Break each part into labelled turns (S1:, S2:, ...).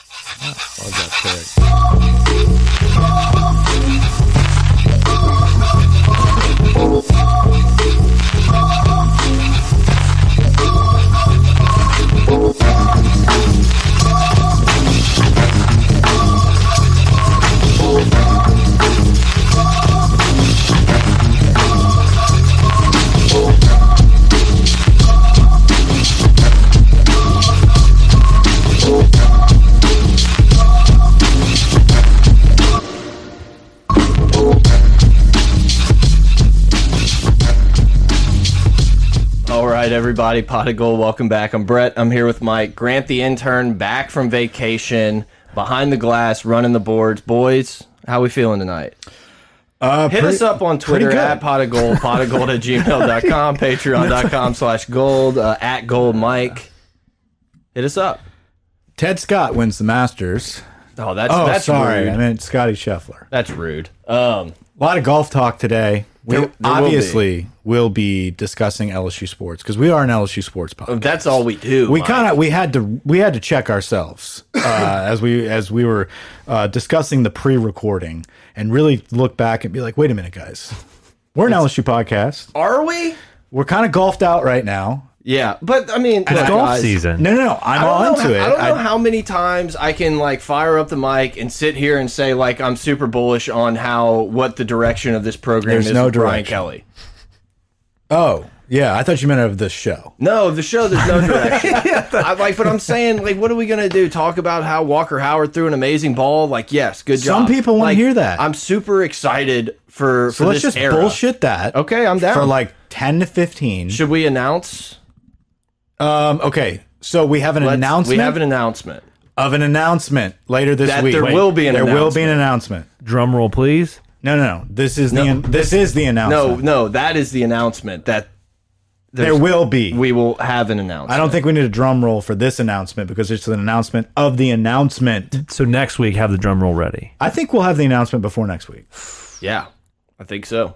S1: Was that correct?
S2: All right, everybody, Pot of Gold, welcome back. I'm Brett. I'm here with Mike Grant, the intern, back from vacation, behind the glass, running the boards. Boys, how we feeling tonight?
S1: Uh,
S2: Hit us up on Twitter
S1: good.
S2: at pot of gold, pot of gold at gmail.com, patreon.com slash gold, uh, at gold Mike. Hit us up.
S1: Ted Scott wins the Masters.
S2: Oh, that's
S1: Oh,
S2: that's
S1: sorry, I
S2: rude.
S1: meant Scotty Scheffler.
S2: That's rude. Um,
S1: A lot of golf talk today. We
S2: There- there will
S1: obviously will be. discussing LSU sports because we are an LSU sports podcast.
S2: that's all we do.
S1: we
S2: Mike.
S1: kind of we had to we had to check ourselves uh, as we as we were uh, discussing the pre-recording and really look back and be like, wait a minute, guys, we're an LSU podcast.
S2: are we?
S1: We're kind of golfed out right now.
S2: Yeah, but I mean,
S3: It's
S2: look,
S3: golf
S2: guys,
S3: season.
S1: No, no, no. I'm
S2: I
S1: all
S2: don't, know,
S1: into it.
S2: I don't know how many times I can like fire up the mic and sit here and say like I'm super bullish on how what the direction of this program
S1: There's
S2: is
S1: no
S2: with Brian
S1: direction.
S2: Kelly.
S1: oh, yeah. I thought you meant of this show.
S2: No, the show there's no direction. I like, but I'm saying like, what are we gonna do? Talk about how Walker Howard threw an amazing ball? Like, yes, good
S1: Some
S2: job.
S1: people wanna
S2: Like,
S1: hear that.
S2: I'm super excited for. for
S1: So let's
S2: this
S1: just
S2: era.
S1: bullshit that.
S2: Okay, I'm down.
S1: For like ten to fifteen.
S2: Should we announce?
S1: Um. Okay. So we have an
S2: Let's-
S1: announcement
S2: We have an announcement.
S1: of an announcement later this
S2: That
S1: week.
S2: there will be an
S1: there will be an announcement.
S3: Drum roll, please.
S1: No, no, no. This is
S2: No,
S1: the this, is the
S2: No,
S1: announcement.
S2: no, that is the announcement that
S1: there will be.
S2: we will have an announcement.
S1: I don't think we need a drum roll for this announcement because it's an announcement of the announcement.
S3: So next week, have the drum roll ready.
S1: I think we'll have the announcement before next week.
S2: Yeah, I think so.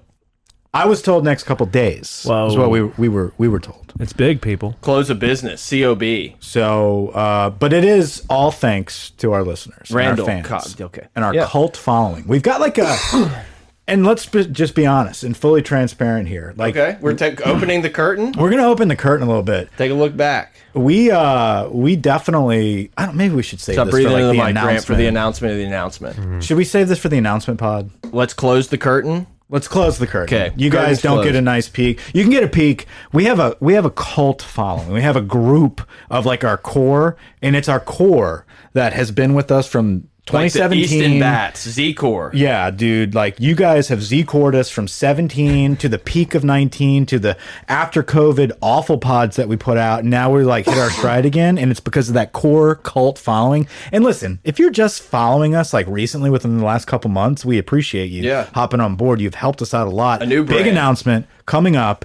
S1: I was told next couple days.
S3: Whoa.
S1: Is what we we were we were told.
S3: It's big, people.
S2: Close of business, COB.
S1: So, uh, but it is all thanks to our listeners,
S2: Randall,
S1: and our fans,
S2: Cobb, okay.
S1: and our
S2: Yeah.
S1: cult following. We've got like a, and let's be, just be honest and fully transparent here. Like,
S2: Okay, we're ta- opening the curtain.
S1: we're gonna open the curtain a little bit.
S2: Take a look back.
S1: We uh, we definitely. I don't. Maybe we should save
S2: Stop
S1: this for
S2: breathing
S1: like
S2: into
S1: the,
S2: the mic, Grant,
S1: announcement.
S2: for the announcement of the announcement.
S1: should we save this for the announcement pod?
S2: Let's close the curtain.
S1: Let's close the curtain.
S2: Okay,
S1: You
S2: curtain's
S1: guys don't
S2: closed.
S1: get a nice peek. You can get a peek. We have a we have a cult following. We have a group of like our core, and it's our core that has been with us from
S2: Like the
S1: 2017.
S2: Easton Bats, Z Corps.
S1: Yeah, dude. Like you guys have Z cored us from 17 to the peak of 19 to the after COVID awful pods that we put out. Now we're like hit our stride again, and it's because of that core cult following. And listen, if you're just following us like recently within the last couple months, we appreciate you
S2: Yeah.
S1: hopping on board. You've helped us out a lot. A
S2: new
S1: big
S2: brand.
S1: announcement coming up.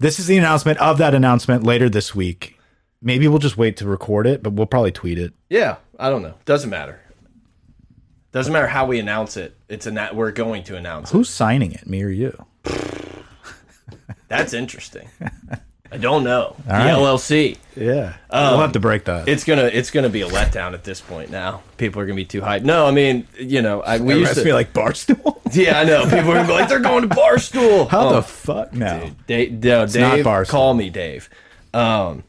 S1: This is the announcement of that announcement later this week. Maybe we'll just wait to record it, but we'll probably tweet it.
S2: Yeah, I don't know. Doesn't matter. Doesn't matter how we announce it. It's a na- we're going to announce it.
S1: Who's signing it, me or you?
S2: That's interesting. I don't know. the
S1: right.
S2: LLC.
S1: Yeah,
S2: Um,
S1: we'll have to break that.
S2: It's gonna it's gonna be a letdown at this point. Now people are gonna be too hyped. No, I mean you know I we
S1: It
S2: used
S1: must be
S2: to.
S1: like barstool.
S2: Yeah, I know. People are gonna be like they're going to Barstool.
S1: How
S2: Oh,
S1: the fuck now?
S2: Dave, no,
S1: not
S2: Dave
S1: Barstool.
S2: call me Dave. Um,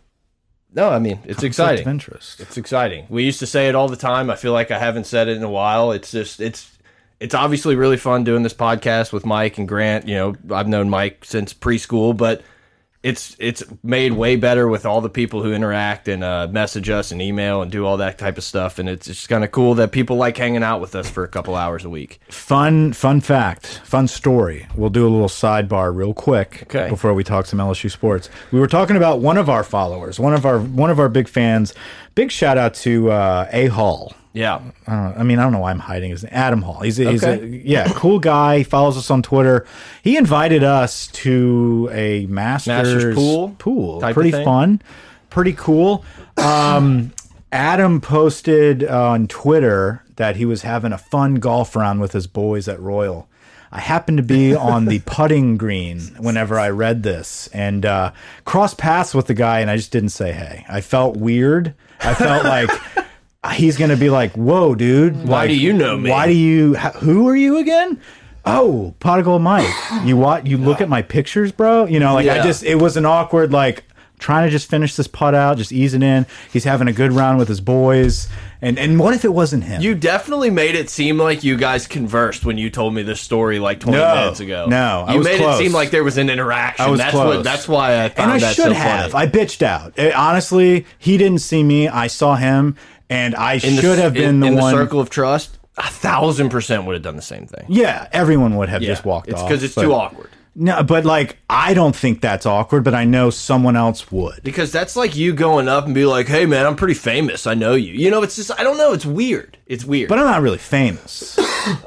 S2: no, I mean it's
S1: Conflict of
S2: exciting.
S1: interest.
S2: It's exciting. We used to say it all the time. I feel like I haven't said it in a while. It's just it's it's obviously really fun doing this podcast with Mike and Grant. You know, I've known Mike since preschool, but it's it's made way better with all the people who interact and uh, message us and email and do all that type of stuff. And it's just kind of cool that people like hanging out with us for a couple hours a week.
S1: Fun, fun fact, fun story. We'll do a little sidebar real quick
S2: Okay.
S1: before we talk some LSU sports. We were talking about one of our followers, one of our one of our big fans. Big shout out to uh, A Hall.
S2: Yeah,
S1: I don't know. I mean, I don't know why I'm hiding his name. Adam Hall. He's a, he's a,
S2: Okay.
S1: yeah, cool guy. He follows us on Twitter. He invited us to a master's,
S2: Masters pool
S1: pool.
S2: type of
S1: Pretty
S2: thing.
S1: fun. Pretty cool. Um, Adam posted on Twitter that he was having a fun golf round with his boys at Royal. I happened to be on the putting green whenever I read this and uh, crossed paths with the guy, and I just didn't say hey. I felt weird. I felt like he's going to be like, "Whoa, dude! Why
S2: do you know me?
S1: Why do you? h- Who are you again?" Oh, Prodigal Mike. You what? You look at my pictures, bro. You know, like I
S2: Yeah.
S1: just it was an awkward like trying to just finish this putt out, just ease it in. He's having a good round with his boys, and and what if it wasn't him?
S2: You definitely made it seem like you guys conversed when you told me this story like 20
S1: No,
S2: minutes ago.
S1: no, I
S2: you
S1: was
S2: made
S1: close.
S2: it seem like there was an interaction.
S1: I was
S2: that's
S1: close.
S2: what. That's why I found
S1: and I
S2: that
S1: should
S2: so
S1: have.
S2: funny.
S1: I bitched out. It- honestly, he didn't see me. I saw him, and I
S2: In the-
S1: should have been
S2: in,
S1: the
S2: in
S1: one.
S2: the circle of trust. A thousand percent would have done the same thing.
S1: yeah, everyone would have
S2: Yeah,
S1: just walked
S2: it's
S1: off
S2: because it's
S1: but-
S2: too awkward.
S1: No, but like I don't think that's awkward, but I know someone else would.
S2: Because that's like you going up and be like, "Hey, man, I'm pretty famous. I know you." You know, it's just I don't know. It's weird. It's weird.
S1: But I'm not really famous.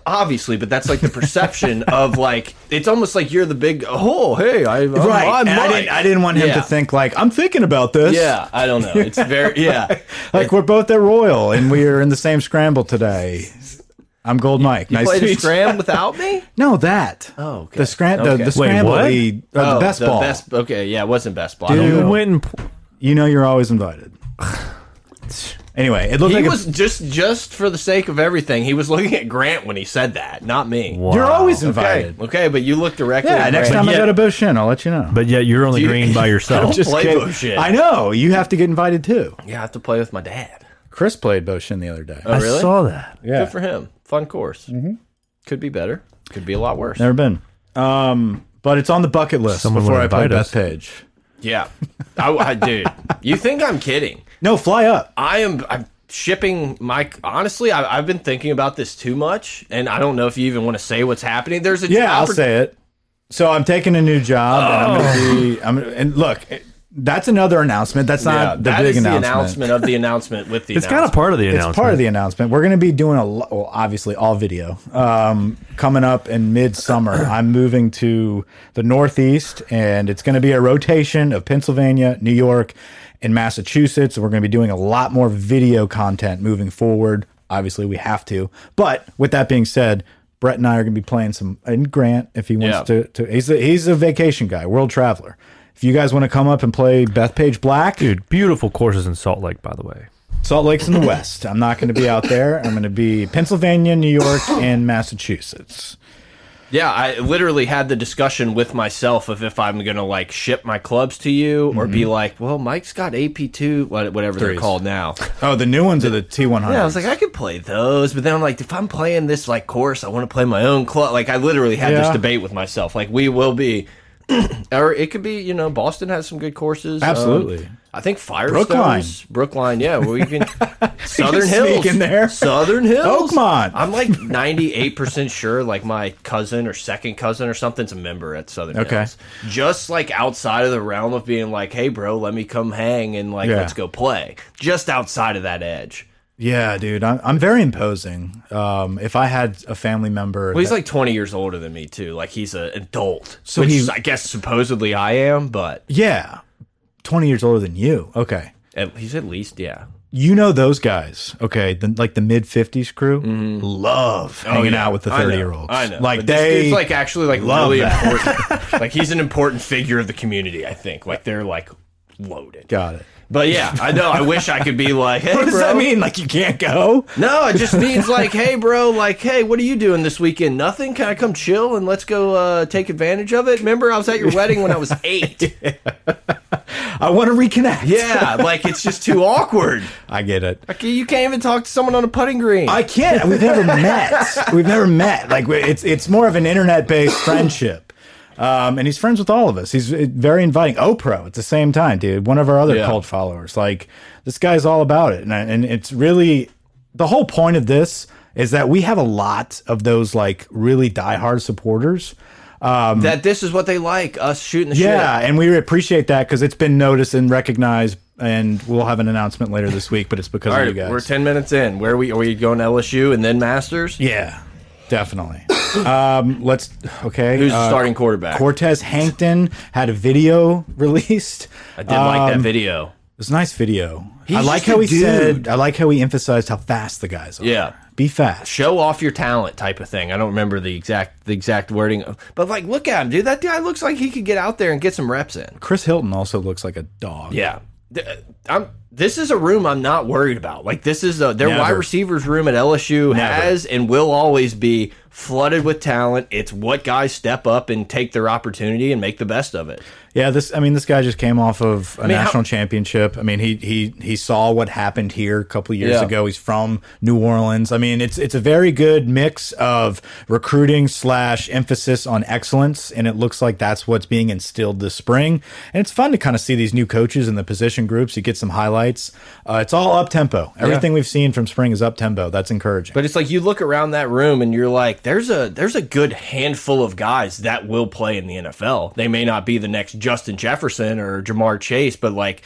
S2: obviously, but that's like the perception of like it's almost like you're the big oh hey I I'm, I'm
S1: and I
S2: Mike."
S1: didn't I didn't want him
S2: Yeah.
S1: to think like I'm thinking about this.
S2: Yeah, I don't know. It's very yeah.
S1: Like we're both at Royal and we are in the same scramble today. I'm Gold Mike. nice
S2: Played
S1: to
S2: a
S1: meet you.
S2: scram without me.
S1: No, that.
S2: Oh, okay.
S1: The scram the,
S2: Okay.
S1: the
S2: Wait,
S1: scramble
S3: what?
S1: the, uh, the
S2: Oh,
S1: best ball.
S2: Best, okay, yeah, it wasn't best ball. I
S1: Dude,
S2: don't
S3: You
S2: know.
S3: went and pl-
S1: You know you're always invited. anyway, it looked
S2: He
S1: like a-
S2: was just just for the sake of everything. He was looking at Grant when he said that, not me.
S1: you're
S3: Wow.
S1: always
S2: Okay,
S1: invited.
S2: okay, but you look directly.
S1: Yeah,
S2: at
S1: next
S2: Grant.
S1: time I go
S3: yeah.
S1: to Boshin, I'll let you know.
S3: but yet you're on the
S2: you-
S3: green by yourself.
S2: Just- play
S1: kidding.
S2: Boshin.
S1: I know. You have to get invited too.
S2: yeah, I have to play with my dad.
S1: Chris played Boshin the other day.
S2: Oh, really?
S3: I saw that.
S1: yeah. Mm-hmm.
S2: Good for him. Fun course. Could be better. Could be a lot worse.
S1: Never been. Um, but it's on the bucket list
S3: Someone
S1: before
S3: would
S1: I play
S3: invite
S1: Beth
S3: us.
S1: Page.
S2: Yeah, I, I dude, you think I'm kidding?
S1: No, fly up.
S2: I am. I'm shipping my. Honestly, I, I've been thinking about this too much, and I don't know if you even want to say what's happening. There's a
S1: Yeah, I'll
S2: oppor-
S1: say it. So I'm taking a new job, and I'm going to be. I'm and look, it- that's another announcement. That's not
S2: Yeah,
S1: Uh, the
S2: that
S1: big
S2: is
S1: announcement.
S2: the announcement of the announcement with the.
S3: It's kind
S2: announcement.
S3: of part of the announcement.
S1: It's part of the announcement. We're going to be doing a lo- well, obviously all video. Um, coming up in midsummer, I'm moving to the Northeast, and it's going to be a rotation of Pennsylvania, New York, and Massachusetts. We're going to be doing a lot more video content moving forward. Obviously, we have to. But with that being said, Brett and I are going to be playing some, and Grant, if he wants
S2: Yeah.
S1: to, to he's a, he's a vacation guy, world traveler. If you guys want to come up and play Bethpage Black,
S3: Dude, beautiful courses in Salt Lake, by the way.
S1: Salt Lake's in the West. I'm not going to be out there. I'm going to be Pennsylvania, New York, and Massachusetts.
S2: Yeah, I literally had the discussion with myself of if I'm gonna like ship my clubs to you or
S1: Mm-hmm.
S2: be like, well, Mike's got AP two, what- whatever they they're called now.
S1: Oh, the new ones are the T100.
S2: Yeah, I was like, I could play those, but then I'm like, if I'm playing this like course, I want to play my own club. Like, I literally had this
S1: Yeah.
S2: debate with myself. Like, we will be, or it could be, you know, Boston has some good courses. Um,
S1: Absolutely.
S2: I think
S1: Brookline.
S2: Firestones, Brookline, yeah, where you can Southern Hills
S1: sneak in there.
S2: Southern Hills,
S1: Oakmont.
S2: I'm like 98 percent sure, like my cousin or second cousin or something's a member at Southern
S1: Okay.
S2: Hills. Just like outside of the realm of being like, hey, bro, let me come hang and like
S1: Yeah.
S2: let's go play. Just outside of that edge.
S1: yeah, dude, I'm, I'm very imposing. Um, if I had a family member,
S2: Well, he's
S1: that-
S2: like 20 years older than me, too. Like, he's an adult. So
S1: So
S2: which
S1: he-
S2: is, I guess supposedly I am, but
S1: yeah, 20 years older than you. Okay,
S2: at, he's at least, yeah.
S1: you know those guys. Okay, the, like the mid 50s crew love hanging out with the 30 year olds.
S2: Mm-hmm. Oh, I know.
S1: like
S2: But this
S1: they
S2: dude's, like, actually, like,
S1: love
S2: really
S1: that.
S2: important. like, he's an important figure of the community, I think. Like, they're, like, loaded.
S1: got it.
S2: But yeah, I know. I wish I could be like, hey,
S1: What does
S2: bro.
S1: that mean? Like you can't go?
S2: No, it just means like, hey, bro, like, hey, what are you doing this weekend? Nothing. Can I come chill and let's go uh, take advantage of it? Remember, I was at your wedding when I was eight.
S1: I want to reconnect.
S2: Yeah, like it's just too awkward.
S1: I get it.
S2: Like, You can't even talk to someone on a putting green.
S1: I can't. We've never met. We've never met. Like we- it's it's more of an internet based friendship. Um, and he's friends with all of us. He's uh, very inviting. Opro at the same time, dude. One of our other
S2: Yeah.
S1: cult followers. Like this guy's all about it, and I, and it's really the whole point of this is that we have a lot of those like really diehard supporters.
S2: that this is what they like us shooting the
S1: Yeah,
S2: shit.
S1: and we appreciate that because it's been noticed and recognized. And we'll have an announcement later this week, but it's because
S2: All
S1: of you
S2: right,
S1: guys.
S2: we're ten minutes in. Where are we are we going to LSU and then Masters?
S1: yeah, definitely. um, let's okay.
S2: Who's the
S1: uh,
S2: starting quarterback?
S1: Cortez Hankton had a video released.
S2: I did like that video.
S1: It was a nice video.
S2: He's
S1: I like
S2: just a
S1: how he
S2: dude.
S1: said. I like how he emphasized how fast the guys are.
S2: Yeah.
S1: be fast.
S2: Show off your talent type of thing. I don't remember the exact the exact wording, of- but like, look at him, dude. That guy looks like he could get out there and get some reps in.
S1: Chris Hilton also looks like a dog.
S2: Yeah, Th- uh, I'm this is a room I'm not worried about. Like this is a their
S1: Never.
S2: wide receivers room at LSU
S1: Never.
S2: has and will always be flooded with talent. It's what guys step up and take their opportunity and make the best of it.
S1: Yeah, this. I mean, this guy just came off of a
S2: mean, how-
S1: national championship. I mean, he he he saw what happened here a couple years
S2: Yeah.
S1: ago. He's from New Orleans. I mean, it's it's a very good mix of recruiting slash emphasis on excellence, and it looks like that's what's being instilled this spring. And it's fun to kind of see these new coaches and the position groups. You get some highlights. Uh, it's all up tempo. Everything we've seen from spring is up tempo. That's encouraging.
S2: But it's like you look around that room and you're like, there's a there's a good handful of guys that will play in the NFL. They may not be the next Justin Jefferson or Jamar Chase, but like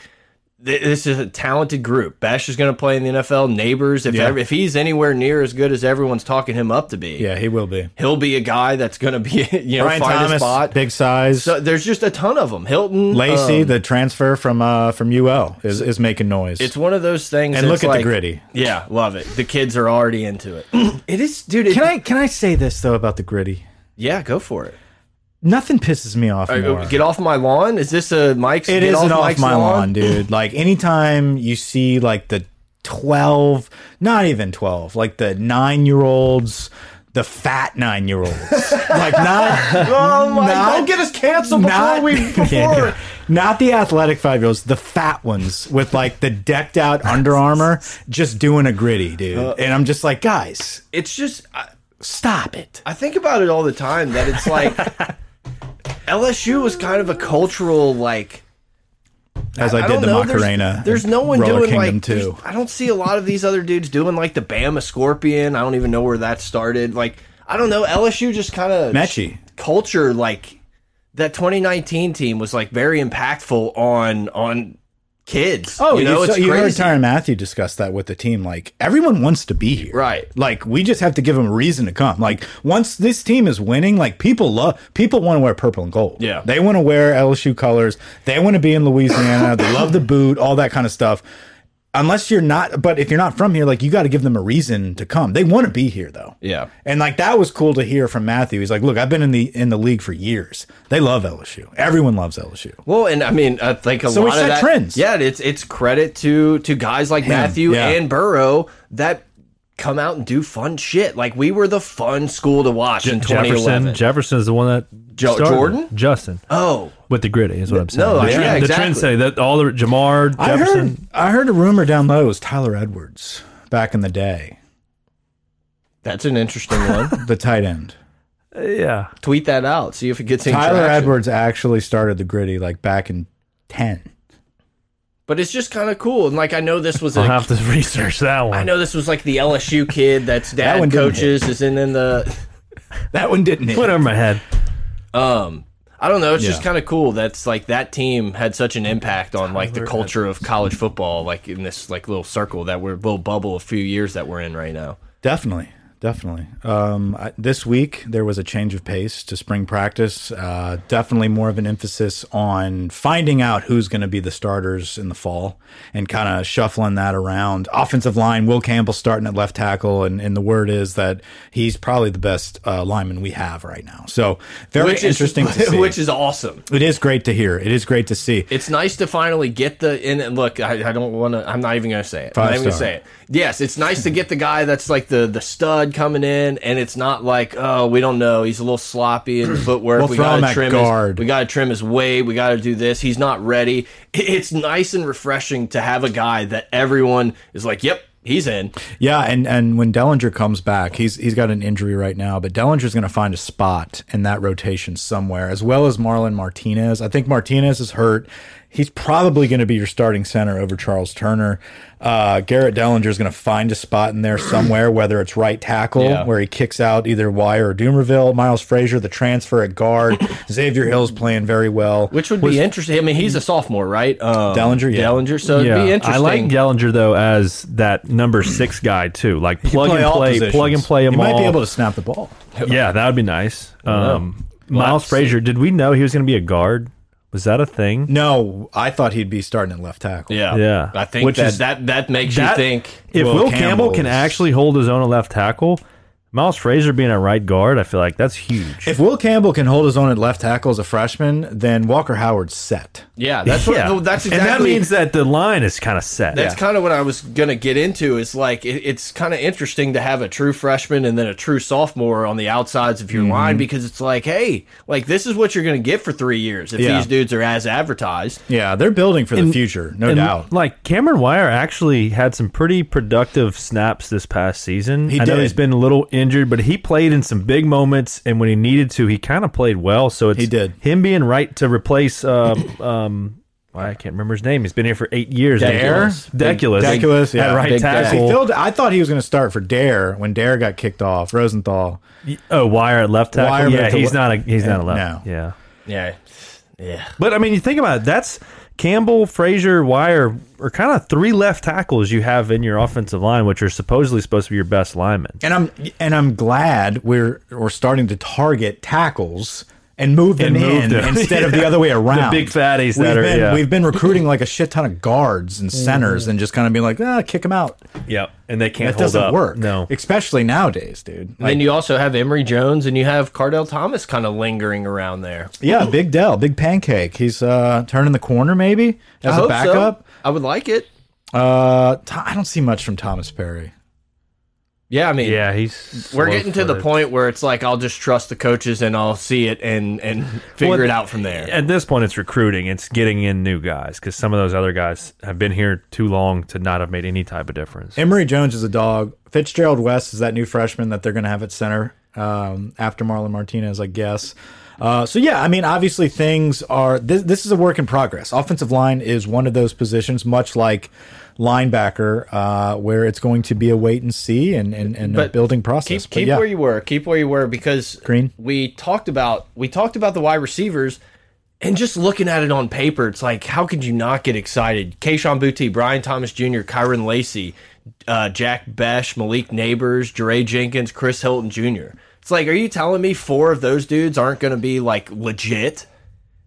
S2: th this is a talented group. Bash is going to play in the NFL. Neighbors, if
S1: Yeah.
S2: ev- if he's anywhere near as good as everyone's talking him up to be,
S1: yeah, he will be.
S2: he'll be a guy that's going to be you know
S1: Brian
S2: find a
S1: Thomas,
S2: spot.
S1: big size.
S2: So there's just a ton of them. Hilton,
S1: Lacey,
S2: um,
S1: the transfer from uh from UL is, is making noise.
S2: it's one of those things.
S1: And
S2: that's
S1: look at the
S2: like-
S1: gritty.
S2: Yeah, love it. The kids are already into it. it is, dude. It,
S1: Can I can I say this though about the gritty?
S2: Yeah, go for it.
S1: Nothing pisses me off
S2: Uh,
S1: more.
S2: Get off my lawn. Is this a Mike's?
S1: it
S2: get
S1: is an off
S2: Mike's
S1: my lawn, dude. Like anytime you see like the twelve, not even twelve, like the nine year olds, the fat nine year olds, like not
S2: Oh my!
S1: Not-
S2: don't get us canceled before
S1: not
S2: we
S1: yeah,
S2: before.
S1: yeah. not the athletic five year olds, the fat ones with like the decked out Under Armour, just doing a gritty, dude.
S2: Uh,
S1: and I'm just like, guys,
S2: It's just I,
S1: stop it.
S2: I think about it all the time that it's like LSU was kind of a cultural like
S1: As I, did
S2: don't
S1: the
S2: know, there's-
S1: Macarena.
S2: There's, no one
S1: Roller
S2: doing
S1: Kingdom
S2: like. there's-
S1: too.
S2: I don't see a lot of these other dudes doing like the Bama Scorpion. I don't even know where that started. Like I don't know. LSU just kind of
S1: Mechie.
S2: culture like that 2019 team was like very impactful on on kids.
S1: Oh, you,
S2: know
S1: saw-
S2: it's
S1: you heard
S2: crazy.
S1: Tyron Matthew discuss that with the team. Like everyone wants to be here,
S2: Right.
S1: Like we just have to give them a reason to come. Like once this team is winning, like people love people want to wear purple and gold.
S2: Yeah.
S1: they want to wear LSU colors. They want to be in Louisiana. they love the boot, all that kind of stuff. Unless you're not, but if you're not from here, like you got to give them a reason to come. They want to be here though.
S2: Yeah.
S1: And like that was cool to hear from Matthew. He's like, "Look, I've been in the in the league for years. They love LSU. Everyone loves LSU."
S2: Well, and I mean, I think a
S1: So we
S2: lot of
S1: set
S2: that
S1: trends.
S2: Yeah, it's it's credit to to guys like Matthew
S1: yeah.
S2: and Burrow that come out and do fun shit. Like we were the fun school to watch in 2011.
S3: Jefferson. Jefferson is the one that
S2: Jo-
S3: started.
S2: Jordan?
S3: Justin
S2: Oh,
S3: with the gritty is what I'm saying.
S2: No,
S3: the,
S2: yeah,
S3: trend, the
S2: exactly.
S3: trend say that all the Jamar
S1: I
S3: Jefferson.
S1: heard, I heard a rumor down low it was Tyler Edwards back in the day,
S2: that's an interesting one.
S1: the tight end.
S3: Yeah,
S2: Tweet that out. See if it gets any
S1: Tyler
S2: traction.
S1: Edwards actually started the gritty like back in 10.
S2: But it's just kind of cool. And like I know this was
S3: I'll
S2: a,
S1: Uh-huh.
S3: have to research that one.
S2: I know this was like the LSU kid that's dad
S1: one didn't
S2: coaches is in in the
S1: That one didn't hit.
S3: Went over my head.
S2: um I don't know. It's just
S1: Yeah.
S2: kind of cool. That's like that team had such an impact on like the culture of college football, like in this like little circle that we're little bubble a few years that we're in right now.
S1: Definitely. Definitely. Um, I, this week, there was a change of pace to spring practice. Uh, definitely more of an emphasis on finding out who's going to be the starters in the fall and kind of shuffling that around. Offensive line, Will Campbell starting at left tackle. And, and the word is that he's probably the best uh, lineman we have right now. So, very
S2: Which
S1: interesting
S2: is
S1: to see.
S2: which is awesome.
S1: it is great to hear. It is great to see.
S2: It's nice to finally get the in. And look, I, I don't want to. I'm not even going to say it. I'm
S1: Five
S2: not even going to
S1: star.
S2: say it. Yes, it's nice to get the guy that's like the the stud coming in, and it's not like oh we don't know he's a little sloppy in his footwork.
S1: We'll
S2: we
S1: throw
S2: gotta
S1: him at
S2: trim
S1: guard.
S2: His, we got to trim his weight. We got to do this. He's not ready. I- It's nice and refreshing to have a guy that everyone is like, yep, he's in.
S1: Yeah, and and when Dellinger comes back, he's he's got an injury right now, but Dellinger's going to find a spot in that rotation somewhere, as well as Marlon Martinez. I think Martinez is hurt. He's probably going to be your starting center over Charles Turner. Uh, Garrett Dellinger's going to find a spot in there somewhere, whether it's right tackle
S2: Yeah.
S1: where he kicks out either Wire or Doomerville, Miles Frazier, the transfer at guard. Xavier Hill's playing very well.
S2: Which would be interesting. I mean, he's a sophomore, right? Um,
S1: Dellinger, yeah.
S2: Dellinger. So it'd be interesting.
S3: I like Gellinger though as that number six guy too. Like plug
S1: Play
S3: and
S1: all
S3: play,
S1: positions.
S3: plug and play them
S1: He might
S3: all.
S1: be able to snap the ball.
S3: yeah, that would be nice. Um,
S2: Well,
S3: Miles Frazier, did we know he was going to be a guard? Was that a thing?
S1: No, I thought he'd be starting at left tackle.
S2: yeah,
S3: Yeah.
S2: I think
S3: Which
S2: that,
S3: is-
S2: that that makes
S3: that-
S2: you think.
S3: If
S1: Will
S3: Will, Campbell
S1: Campbell's-
S3: can actually hold his own at left tackle, Miles Fraser being at right guard, I feel like that's huge.
S1: If Will Campbell can hold his own at left tackle as a freshman, then Walker Howard's set.
S2: Yeah, that's what,
S3: Yeah.
S2: that's exactly.
S3: And that means that the line is kind of set.
S2: that's kind of what I was gonna get into. Is like it, it's kind of interesting to have a true freshman and then a true sophomore on the outsides of your line because it's like, hey, like this is what you're gonna get for three years if
S1: Yeah.
S2: these dudes are as advertised.
S1: Yeah, they're building for the future, no
S3: And,
S1: doubt.
S3: Like Cameron Wire actually had some pretty productive snaps this past season.
S1: He
S3: I know
S1: did.
S3: he's been a little injured, but he played in some big moments, and when he needed to, he kind of played well. So it's
S1: He did.
S3: him being right to replace. Uh, um, well, I can't remember his name. He's been here for eight years.
S1: Dare?
S3: Deculus,
S1: Deculus, yeah.
S3: at right
S2: Big Dare.
S1: Because he
S3: tackle.
S1: filled, I thought he was going to start for Dare when Dare got kicked off. Rosenthal.
S3: oh, Wire at left tackle.
S1: Wire
S3: yeah,
S1: moved to
S3: he's
S1: le-
S3: not a he's not a
S1: no.
S3: left. Yeah,
S2: Yeah, yeah.
S3: but I mean, you think about it. That's Campbell, Frazier, Wire are kind of three left tackles you have in your offensive line, which are supposedly supposed to be your best linemen.
S1: And I'm and I'm glad we're we're starting to target tackles and move them
S3: And move
S1: in
S3: them.
S1: instead of the other way around.
S3: big
S1: we've
S3: fatties that are-
S1: been,
S3: yeah.
S1: We've been recruiting like a shit ton of guards and centers and just kind of being like, ah, kick them out.
S3: Yep, and they can't.
S1: That
S3: hold
S1: doesn't
S3: up.
S1: work.
S3: No,
S1: especially nowadays, dude.
S2: And then you also have Emory Jones and you have Cardell Thomas kind of lingering around there.
S1: Yeah, Big Dell, Big Pancake. He's uh, turning the corner maybe as
S2: I
S1: a
S2: hope so.
S1: backup.
S2: I would like it.
S1: Uh, Th- I don't see much from Thomas Perry.
S2: Yeah, I mean,
S3: yeah, he's.
S2: we're getting to the
S3: slow-footed.
S2: point where it's like I'll just trust the coaches and I'll see it and and figure
S3: Well,
S2: it out from there.
S3: At this point, it's recruiting. It's getting in new guys because some of those other guys have been here too long to not have made any type of difference.
S1: Emory Jones is a dog. Fitzgerald West is that new freshman that they're going to have at center um, after Marlon Martinez, I guess. Uh, so yeah, I mean, obviously things are. This, this is a work in progress. Offensive line is one of those positions, much like linebacker, uh, where it's going to be a wait and see and and, and a
S2: But
S1: building process.
S2: keep
S1: But
S2: keep
S1: yeah.
S2: where you were. Keep where you were because
S1: Green.
S2: We talked about we talked about the wide receivers. And just looking at it on paper, it's like, how could you not get excited? Kayshawn Booty, Brian Thomas Jr., Kyron Lacey, uh, Jack Besh, Malik Neighbors, Jere Jenkins, Chris Hilton Jr. It's like, are you telling me four of those dudes aren't going to be like legit?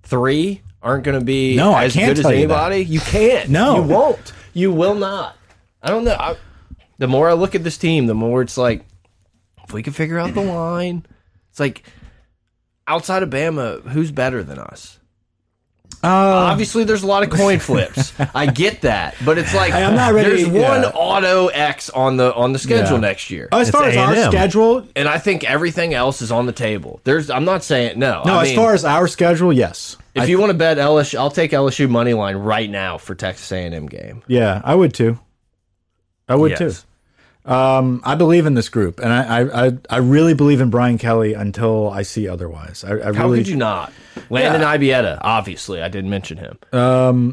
S2: Three aren't going to be
S1: No, I
S2: as
S1: can't
S2: good as
S1: tell you that.
S2: anybody? You can't.
S1: No.
S2: you won't. You will not. I don't know. I, the more I look at this team, the more it's like, if we can figure out the line, it's like outside of Bama, who's better than us?
S1: Uh, Um,
S2: Obviously, there's a lot of coin flips. I get that, but it's like
S1: I'm not ready-
S2: There's one
S1: yeah.
S2: auto X on the on the schedule
S1: Yeah. Oh.
S2: next year,
S1: as far as our
S3: A&M.
S1: schedule,
S2: and I think everything else is on the table. There's I'm not saying no.
S1: no,
S2: I
S1: as
S2: mean,
S1: far as our schedule, yes.
S2: if you want to bet LSU, I'll take LSU money line right now for Texas A&M game.
S1: Yeah, I would too. I would
S3: Yes.
S1: too. Um, I believe in this group, and I, I, I, I really believe in Brian Kelly until I see otherwise. I, I
S2: How
S1: really,
S2: could you not? Landon Ibieta, obviously, I didn't mention him.
S1: I'm,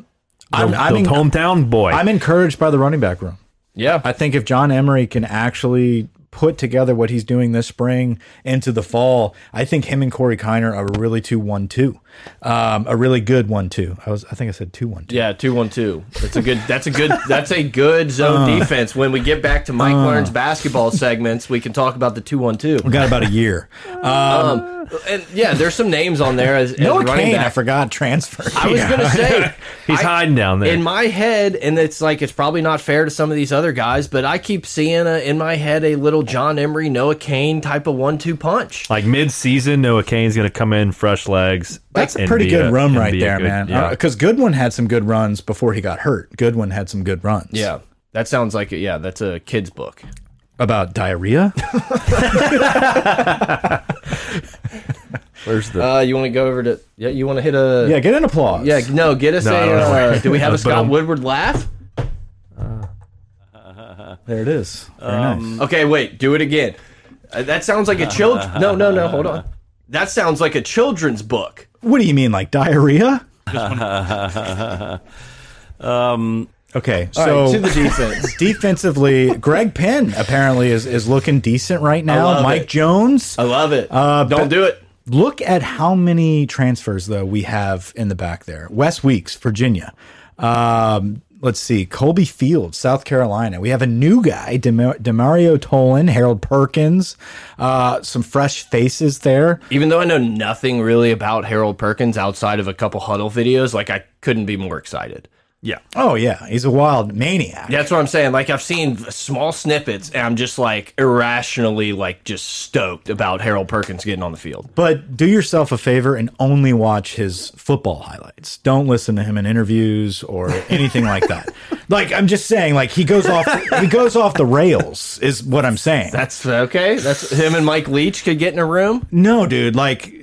S3: The
S1: I'm, en-
S3: hometown boy.
S1: I'm encouraged by the running back room.
S2: yeah,
S1: I think if John Emery can actually put together what he's doing this spring into the fall, I think him and Corey Kiner are really two one two, um, a really good one two. I was, I think I said two one two.
S2: Yeah, two one two. That's a good. That's a good. That's a good zone
S1: Uh.
S2: defense. When we get back to Mike Learn's basketball segments, we can talk about the two one two.
S1: We got about a year.
S2: And yeah, there's some names on there as, as
S1: Noah
S2: running
S1: Kane, I
S2: back.
S1: forgot transfer.
S2: I was gonna say
S3: he's
S2: I-
S3: hiding down there.
S2: in my head, and it's like it's probably not fair to some of these other guys, but I keep seeing a, in my head a little John Emery, Noah Kane type of one two punch.
S3: like mid-season, Noah Kane's going to come in fresh legs.
S1: That's a
S3: and
S1: pretty
S3: be
S1: good
S3: a-
S1: run
S3: and
S1: right
S3: be a
S1: there,
S3: good-
S1: man.
S3: yeah.
S1: Because Goodwin had some good runs before he got hurt. Goodwin had some good runs.
S2: Yeah, that sounds like it. Yeah, that's a kid's book.
S1: About diarrhea?
S3: Where's the?
S2: Uh, you want to go over to? Yeah, you want to hit a?
S1: yeah, get an applause.
S2: Yeah, no, get us
S3: I
S2: a.
S3: don't know. um,
S2: Uh, do we have a Scott
S3: Boom.
S2: Woodward laugh?
S1: there it is. Very nice.
S2: Okay, wait, do it again. Uh, that sounds like a child. No, no, no, hold on. That sounds like a children's book.
S1: What do you mean, like diarrhea?
S4: Um,
S1: Okay,
S2: All
S1: so
S2: right, to the defense.
S1: defensively, Greg Penn apparently is, is looking decent right now.
S2: love
S1: Mike
S2: it.
S1: Jones.
S2: I love it.
S1: Uh,
S2: Don't
S1: but-
S2: do it.
S1: Look at how many transfers though we have in the back there. Wes Weeks, Virginia. Um, let's see, Colby Fields, South Carolina. We have a new guy, Demar Demario Tolan, Harold Perkins. Uh, some fresh faces there.
S2: Even though I know nothing really about Harold Perkins outside of a couple huddle videos, like I couldn't be more excited.
S3: Yeah.
S1: Oh yeah, he's a wild maniac.
S2: That's what I'm saying. Like I've seen small snippets, and I'm just like irrationally like just stoked about Harold Perkins getting on the field.
S1: But do yourself a favor and only watch his football highlights. Don't listen to him in interviews or anything like that. Like I'm just saying, like he goes off he goes off the rails is what I'm saying.
S2: That's okay. That's him and Mike Leach could get in a room.
S1: No, dude, like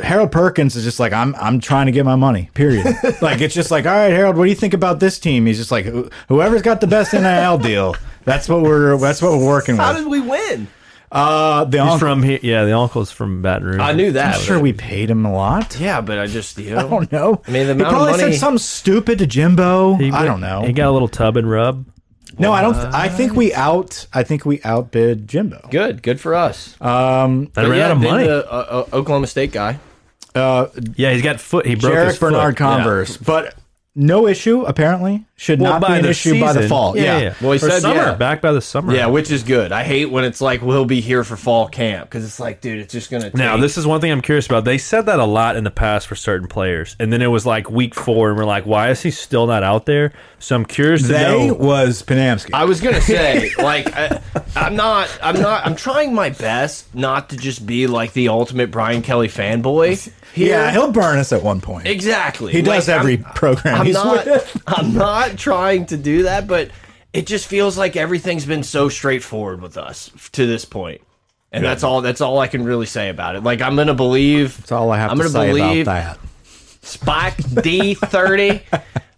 S1: Harold Perkins is just like I'm. I'm trying to get my money. Period. like it's just like, all right, Harold, what do you think about this team? He's just like, "Who- whoever's got the best NIL deal, that's what we're that's what we're working
S2: How
S1: with.
S2: did we win?
S1: Uh, the
S3: He's
S1: uncle,
S3: from here. Yeah, the uncle's from Baton Rouge.
S2: I knew that.
S1: I'm sure we paid him a lot.
S2: Yeah, but I just you
S1: I
S2: know,
S1: don't know.
S2: I mean, the
S1: he
S2: amount of
S1: probably
S2: money-
S1: said something stupid to Jimbo.
S3: He
S1: I
S3: went-
S1: don't know.
S3: He got uh, a little tub and rub.
S2: Oh,
S1: no, I don't. I think we out. I think we outbid Jimbo. Um,
S2: good, good for us.
S3: That ran
S2: yeah,
S3: out of
S2: been
S3: money.
S2: to, uh, uh, Oklahoma State guy.
S3: yeah, he's got foot. He broke his
S1: uh, Jarek
S3: foot.
S1: Bernard
S3: Yeah.
S1: Converse, but no issue apparently. Should
S3: Well,
S1: not
S3: by
S1: be an
S3: the
S1: issue by the
S3: season.
S1: fall.
S3: Yeah,
S1: Yeah.
S3: yeah.
S2: Well, he
S3: Or
S2: said,
S3: summer.
S2: yeah.
S3: Back by the summer.
S2: Yeah, which is good. I hate when it's like we'll be here for fall camp because it's like, dude, it's just gonna. Take,
S3: Now, this is one thing I'm curious about. They said that a lot in the past for certain players, and then it was like week four, and we're like, why is he still not out there? So I'm curious to
S1: They
S3: know.
S1: was Panamsky.
S2: I was gonna say, like, I, I'm not, I'm not, I'm trying my best not to just be like the ultimate Brian Kelly fanboy. here.
S1: Yeah, he'll burn us at one point.
S2: exactly.
S1: He does
S2: Like,
S1: every
S2: I'm-
S1: program
S2: I'm
S1: he's
S2: not,
S1: with.
S2: I'm not trying to do that, but it just feels like everything's been so straightforward with us f- to this point. And that's all. That's all I can really say about it. Like I'm gonna believe.
S1: That's all I have
S2: I'm
S1: to
S2: gonna
S1: say
S2: believe
S1: about that.
S2: Spike D thirty.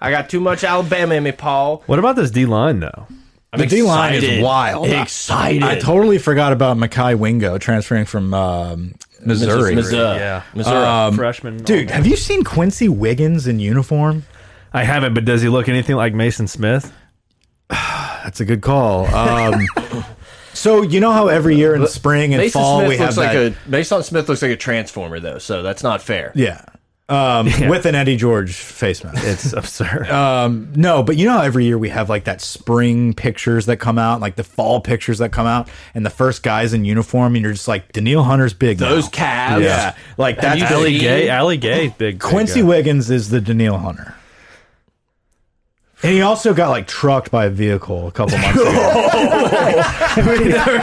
S2: I got too much Alabama in me, Paul.
S3: What about this D line though?
S2: I'm
S1: the D line is
S2: excited.
S1: wild.
S2: Excited.
S1: I totally forgot about Makai Wingo transferring from um, Missouri. Um,
S2: Missouri.
S3: Yeah.
S2: Missouri.
S3: Freshman,
S1: Dude, have you seen Quincy Wiggins in uniform?
S3: I haven't, but does he look anything like Mason Smith?
S1: That's a good call. Um, so you know how every year in spring and
S2: Mason
S1: fall
S2: Smith
S1: we
S2: looks
S1: have
S2: like
S1: that,
S2: a Mason Smith looks like a transformer though, so that's not fair.
S1: yeah, um, with an Eddie George face mask.
S3: It's absurd.
S1: Uh, No, but you know how every year we have like that spring pictures that come out, like the fall pictures that come out, and the first guy's in uniform, and you're just like, Daniil Hunter's big. now."
S2: Those calves.
S1: yeah, like
S2: Have
S1: that's
S2: you
S1: Allie-
S3: Allie
S2: Gee.
S3: Gay, Allie Gay, big
S1: Quincy
S3: Big guy.
S1: Wiggins is the Daniil Hunter. And he also got like trucked by a vehicle a couple months ago.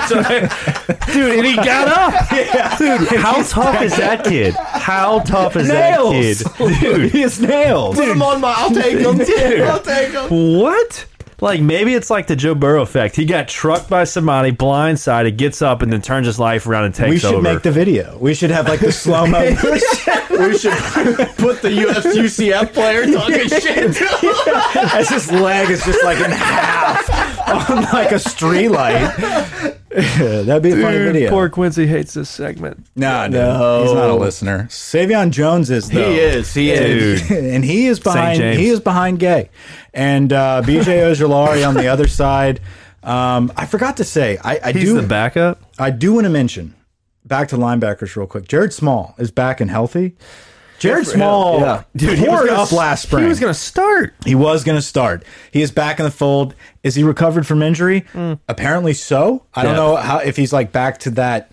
S3: dude, and he got up. Dude, how tough is that kid? How tough is
S1: nails,
S3: that kid?
S1: dude, he is nails.
S2: Put them on my. I'll take them. Dude. I'll take them.
S3: What? Like maybe it's like the Joe Burrow effect. He got trucked by somebody, blindsided, gets up, and then turns his life around and takes
S1: we should
S3: over.
S1: make the video. We should have like the slow mo.
S2: We should put the UF UCF player talking shit.
S1: as his leg is just like in half on like a street light. That'd be a funny video.
S3: Poor Quincy hates this segment.
S1: No, no, he's not a listener. Savion Jones is though.
S2: He is. He is.
S3: Dude.
S1: and he is behind.
S3: James.
S1: He is behind gay, and uh, BJ Ojolari on the other side. Um, I forgot to say, I, I
S3: He's
S1: do.
S3: the backup.
S1: I do want to mention back to linebackers real quick. Jared Small is back and healthy. Jared Small
S2: Yeah.
S1: tore it up last spring.
S3: Oh, He was gonna start.
S1: He was going to start. He is back in the fold. Is he recovered from injury? Apparently so. I don't
S3: Hmm. Yeah.
S1: know how if he's like back to that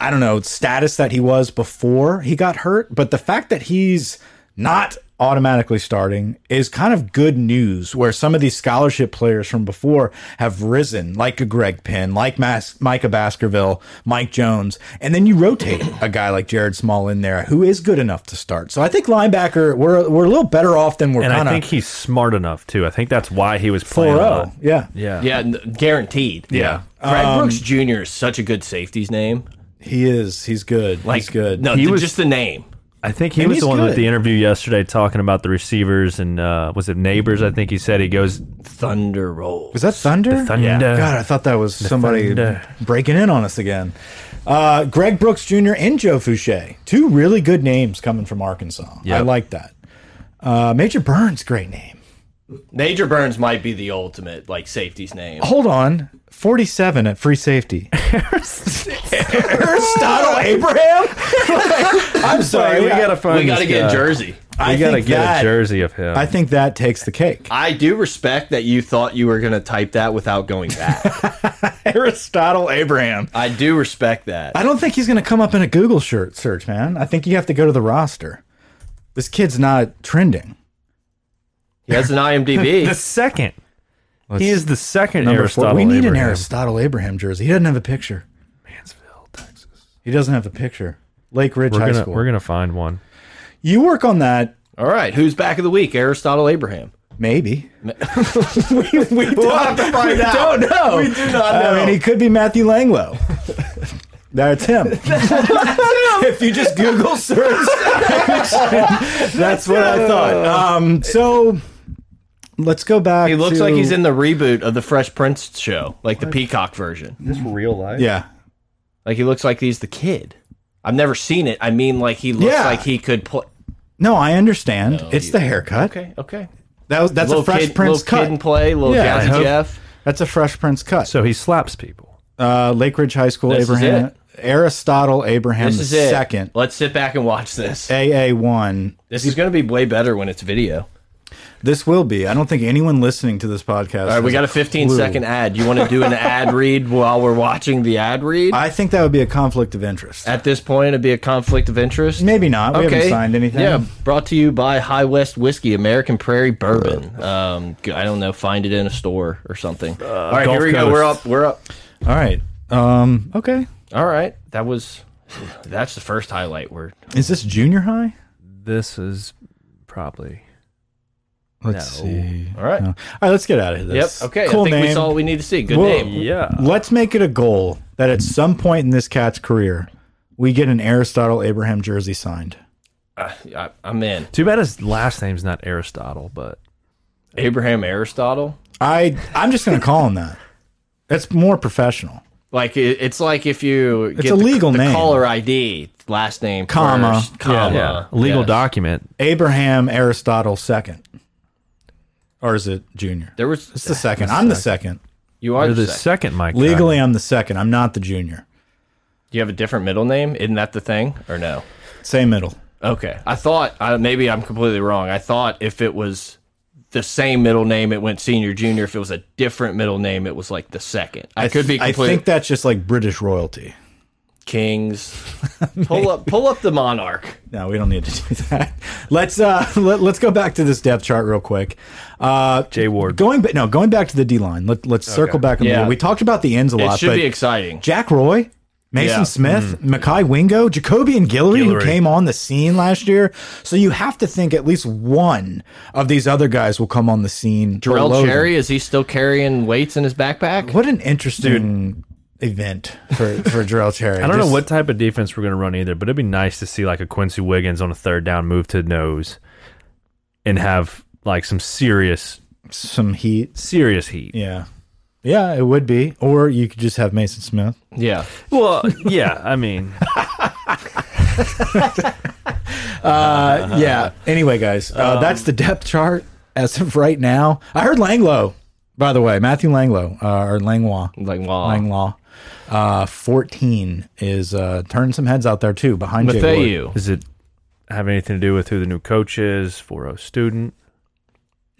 S1: I don't know status that he was before he got hurt, but the fact that he's not automatically starting is kind of good news where some of these scholarship players from before have risen like a Greg Penn, like Mas Micah Baskerville, Mike Jones, and then you rotate a guy like Jared Small in there who is good enough to start. So I think linebacker we're we're a little better off than we're
S3: And
S1: kind
S3: I
S1: of
S3: think he's smart enough too. I think that's why he was playing. a lot.
S1: 4 oh. Yeah.
S3: Yeah.
S2: Yeah, n- guaranteed.
S3: Yeah.
S2: Greg
S1: Um,
S2: Brooks Jr. is such a good safety's name.
S1: He is. He's good.
S2: Like,
S1: he's good.
S2: No,
S3: He
S2: th-
S3: was-
S2: just the name.
S3: I think he
S1: And
S3: was
S1: he's
S3: the one with
S1: good.
S3: the interview yesterday talking about the receivers and uh, was it neighbors? I think he said he goes
S2: Thunder Roll.
S1: Was that Thunder?
S3: thunder.
S1: God, I thought that was somebody
S3: Thunder.
S1: breaking in on us again. Uh, Greg Brooks Jr. and Joe Fouché. Two really good names coming from Arkansas. I
S3: Yep.
S1: like that. Uh, Major Burns, great name.
S2: Major Burns might be the ultimate like safety's name.
S1: Hold on. 47 at free safety. Aristotle Abraham? I'm sorry.
S3: we
S1: I-
S3: gotta find.
S2: we got to
S3: this
S2: get
S3: guy.
S2: a jersey.
S1: I
S3: We gotta
S1: think
S3: get
S1: that-
S3: a jersey of him.
S1: I think that takes the cake.
S2: I do respect that you thought you were going to type that without going back.
S1: Aristotle Abraham.
S2: I do respect that.
S1: I don't think he's going to come up in a Google shirt search, man. I think you have to go to the roster. This kid's not trending.
S2: He has an
S3: The
S2: IMDb.
S3: second. he is the second
S1: Number
S3: Aristotle.
S1: four. We need an
S3: Abraham.
S1: Aristotle Abraham jersey. He doesn't have a picture. Mansfield, Texas. He doesn't have a picture. Lake Ridge
S3: We're
S1: High
S3: gonna,
S1: School.
S3: we're gonna find one.
S1: you work on that,
S2: All right, who's back of the week? Aristotle Abraham.
S1: maybe. we we
S2: We'll have to find out.
S1: don't know.
S2: We do not know.
S1: I mean, he could be Matthew Langlow. That's him. if you just Google search, that's what I thought. Um, so let's go back.
S2: Uh. He looks
S1: to-
S2: like he's in the reboot of the Fresh Prince show, like the Peacock version.
S3: This real life.
S1: Yeah,
S2: Like he looks like he's the kid. I've never seen it. I mean, like he looks
S1: Yeah.
S2: like he could play.
S1: no, I understand. it's the haircut.
S2: Okay, okay.
S1: That was that's a
S2: Little
S1: Fresh
S2: kid,
S1: Prince
S2: little kid
S1: cut.
S2: and play. Little
S1: Yeah, I
S2: Jazzy
S1: hope-
S2: Jeff.
S1: That's a Fresh Prince cut.
S3: So he slaps people.
S1: Uh, Lake Ridge High School,
S2: This is
S1: Abraham,
S2: it.
S1: Aristotle, Abraham
S2: This
S1: the
S2: is it.
S1: second,
S2: Let's sit back and watch this.
S1: AA one.
S2: This is going to be way better when it's video.
S1: This will be. I don't think anyone listening to this podcast.
S2: All right, we got a 15 second ad. You want to do an ad read while we're watching the ad read?
S1: I think that would be a conflict of interest.
S2: At this point, it'd be a conflict of interest.
S1: Maybe not. We haven't signed anything.
S2: Yeah, brought to you by High West Whiskey, American Prairie Bourbon. Um, g- I don't know, find it in a store or something.
S1: Uh,
S2: All right,
S3: Gulf
S2: here we go. We're
S3: Coast.
S2: up. We're up.
S1: All right. Um. Okay.
S2: All right, that was that's the first highlight. We're
S1: Is this junior high?
S3: This is probably
S1: Let's
S3: No.
S1: see.
S2: all right.
S1: No. All right. Let's get out of
S2: Yep.
S1: this.
S2: Okay.
S1: Cool
S2: I think
S1: name.
S2: we saw what we need to see. Good
S1: Well,
S2: name.
S3: Yeah.
S1: Let's make it a goal that at some point in this cat's career, we get an Aristotle Abraham jersey signed.
S2: Uh, I, I'm in.
S3: Too bad his last name's not Aristotle, but
S2: Abraham Aristotle.
S1: I. I'm just gonna call him that. That's more professional.
S2: Like it, it's like if you get the-
S1: a legal
S2: the
S1: name.
S2: caller ID, last name,
S1: Comma.
S2: first, comma,
S3: legal
S2: Yes.
S3: document.
S1: Abraham Aristotle second, or is it junior?
S2: There was
S1: It's the second. I'm the second.
S2: you are
S3: Or
S2: the,
S3: the
S2: second.
S3: second Mike.
S1: Legally, I'm the second. I'm not the junior.
S2: Do you have a different middle name? Isn't that the thing or no?
S1: Same middle.
S2: Okay, I thought uh, maybe I'm completely wrong. I thought if it was the same middle name, it went senior junior. If it was a different middle name, it was like the second. I, could be
S1: I
S2: completely
S1: think that's just like British royalty.
S2: kings. pull up, pull up the monarch.
S1: No, we don't need to do that. Let's uh let, let's go back to this depth chart real quick. Uh
S3: Jay Ward.
S1: going but no, going back to the D line. Let, let's circle back on
S2: Yeah.
S1: the We talked about the ends a
S2: It
S1: lot,
S2: should
S1: but
S2: be exciting.
S1: Jack Roy, Mason
S2: Yeah. Mm.
S1: Smith, Mackay Wingo, Jacobian Guillory, who
S3: Guillory.
S1: came on the scene last year. So you have to think at least one of these other guys will come on the scene.
S2: Darrell
S1: below them.
S2: Cherry is he still carrying weights in his backpack?
S1: What an interesting event for for Darrell Cherry.
S3: I don't know what type of defense we're going to run either, but it'd be nice to see like a Quincy Wiggins on a third down move to nose and have like some serious,
S1: some heat.
S3: serious heat.
S1: Yeah. Yeah, it would be. Or you could just have Mason Smith.
S2: Yeah,
S3: Well, yeah, I mean,
S1: Uh, yeah. Anyway, guys, uh, that's the depth chart as of right now. I heard Langlo, by the way, Matthew Langlo uh, or Langlois.
S2: like wow.
S1: Langlois. Uh, 14 is uh, turning some heads out there too behind Jay Ward.
S2: Mathieu.
S3: does it have anything to do with who the new coach is? 4 student.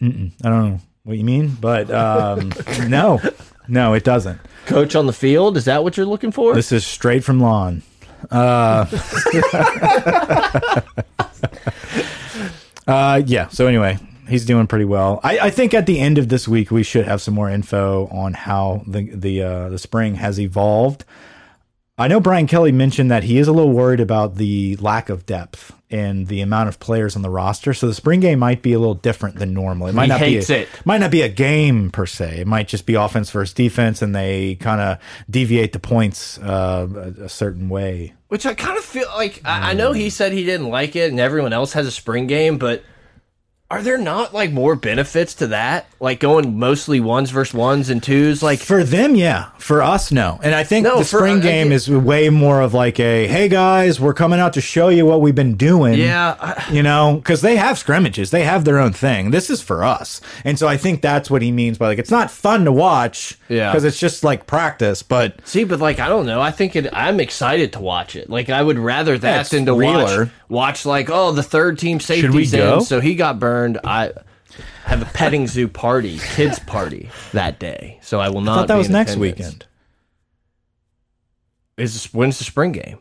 S1: I don't know what you mean, but um, no, no, it doesn't.
S2: coach on the field. Is that what you're looking for?
S1: This is straight from lawn. Uh, uh, yeah. So anyway, he's doing pretty well. I, I think at the end of this week we should have some more info on how the the uh, the spring has evolved. I know Brian Kelly mentioned that he is a little worried about the lack of depth and the amount of players on the roster. So the spring game might be a little different than normal. It might
S2: He
S1: not
S2: hates
S1: be a,
S2: it.
S1: might not be a game per se. It might just be offense versus defense, and they kind of deviate the points uh, a, a certain way.
S2: Which I kind of feel like I, I know
S1: Mm.
S2: he said he didn't like it, and everyone else has a spring game, but are there not like more benefits to that? Like going mostly ones versus ones and twos, like
S1: For them, yeah. For us, no. And I think
S2: No,
S1: the
S2: for- uh,
S1: spring
S2: I
S1: game
S2: get-
S1: is way more of like a, hey guys, we're coming out to show you what we've been doing.
S2: yeah, I,
S1: You know, because they have scrimmages, they have their own thing. This is for us, and so I think that's what he means by like it's not fun to watch,
S2: Yeah.
S1: because it's just like practice. But
S2: see, but like I don't know. I think it, I'm excited to watch it. Like I would rather that
S1: it's
S2: than to watch
S1: realer.
S2: watch like oh the third team
S3: we
S2: safety's
S3: go?
S2: in, so he got burned. I have a petting zoo party, kids party that day, so I will not.
S1: I thought that
S2: be
S1: was
S2: in
S1: next
S2: attendance.
S1: weekend,
S2: Is when's the spring game?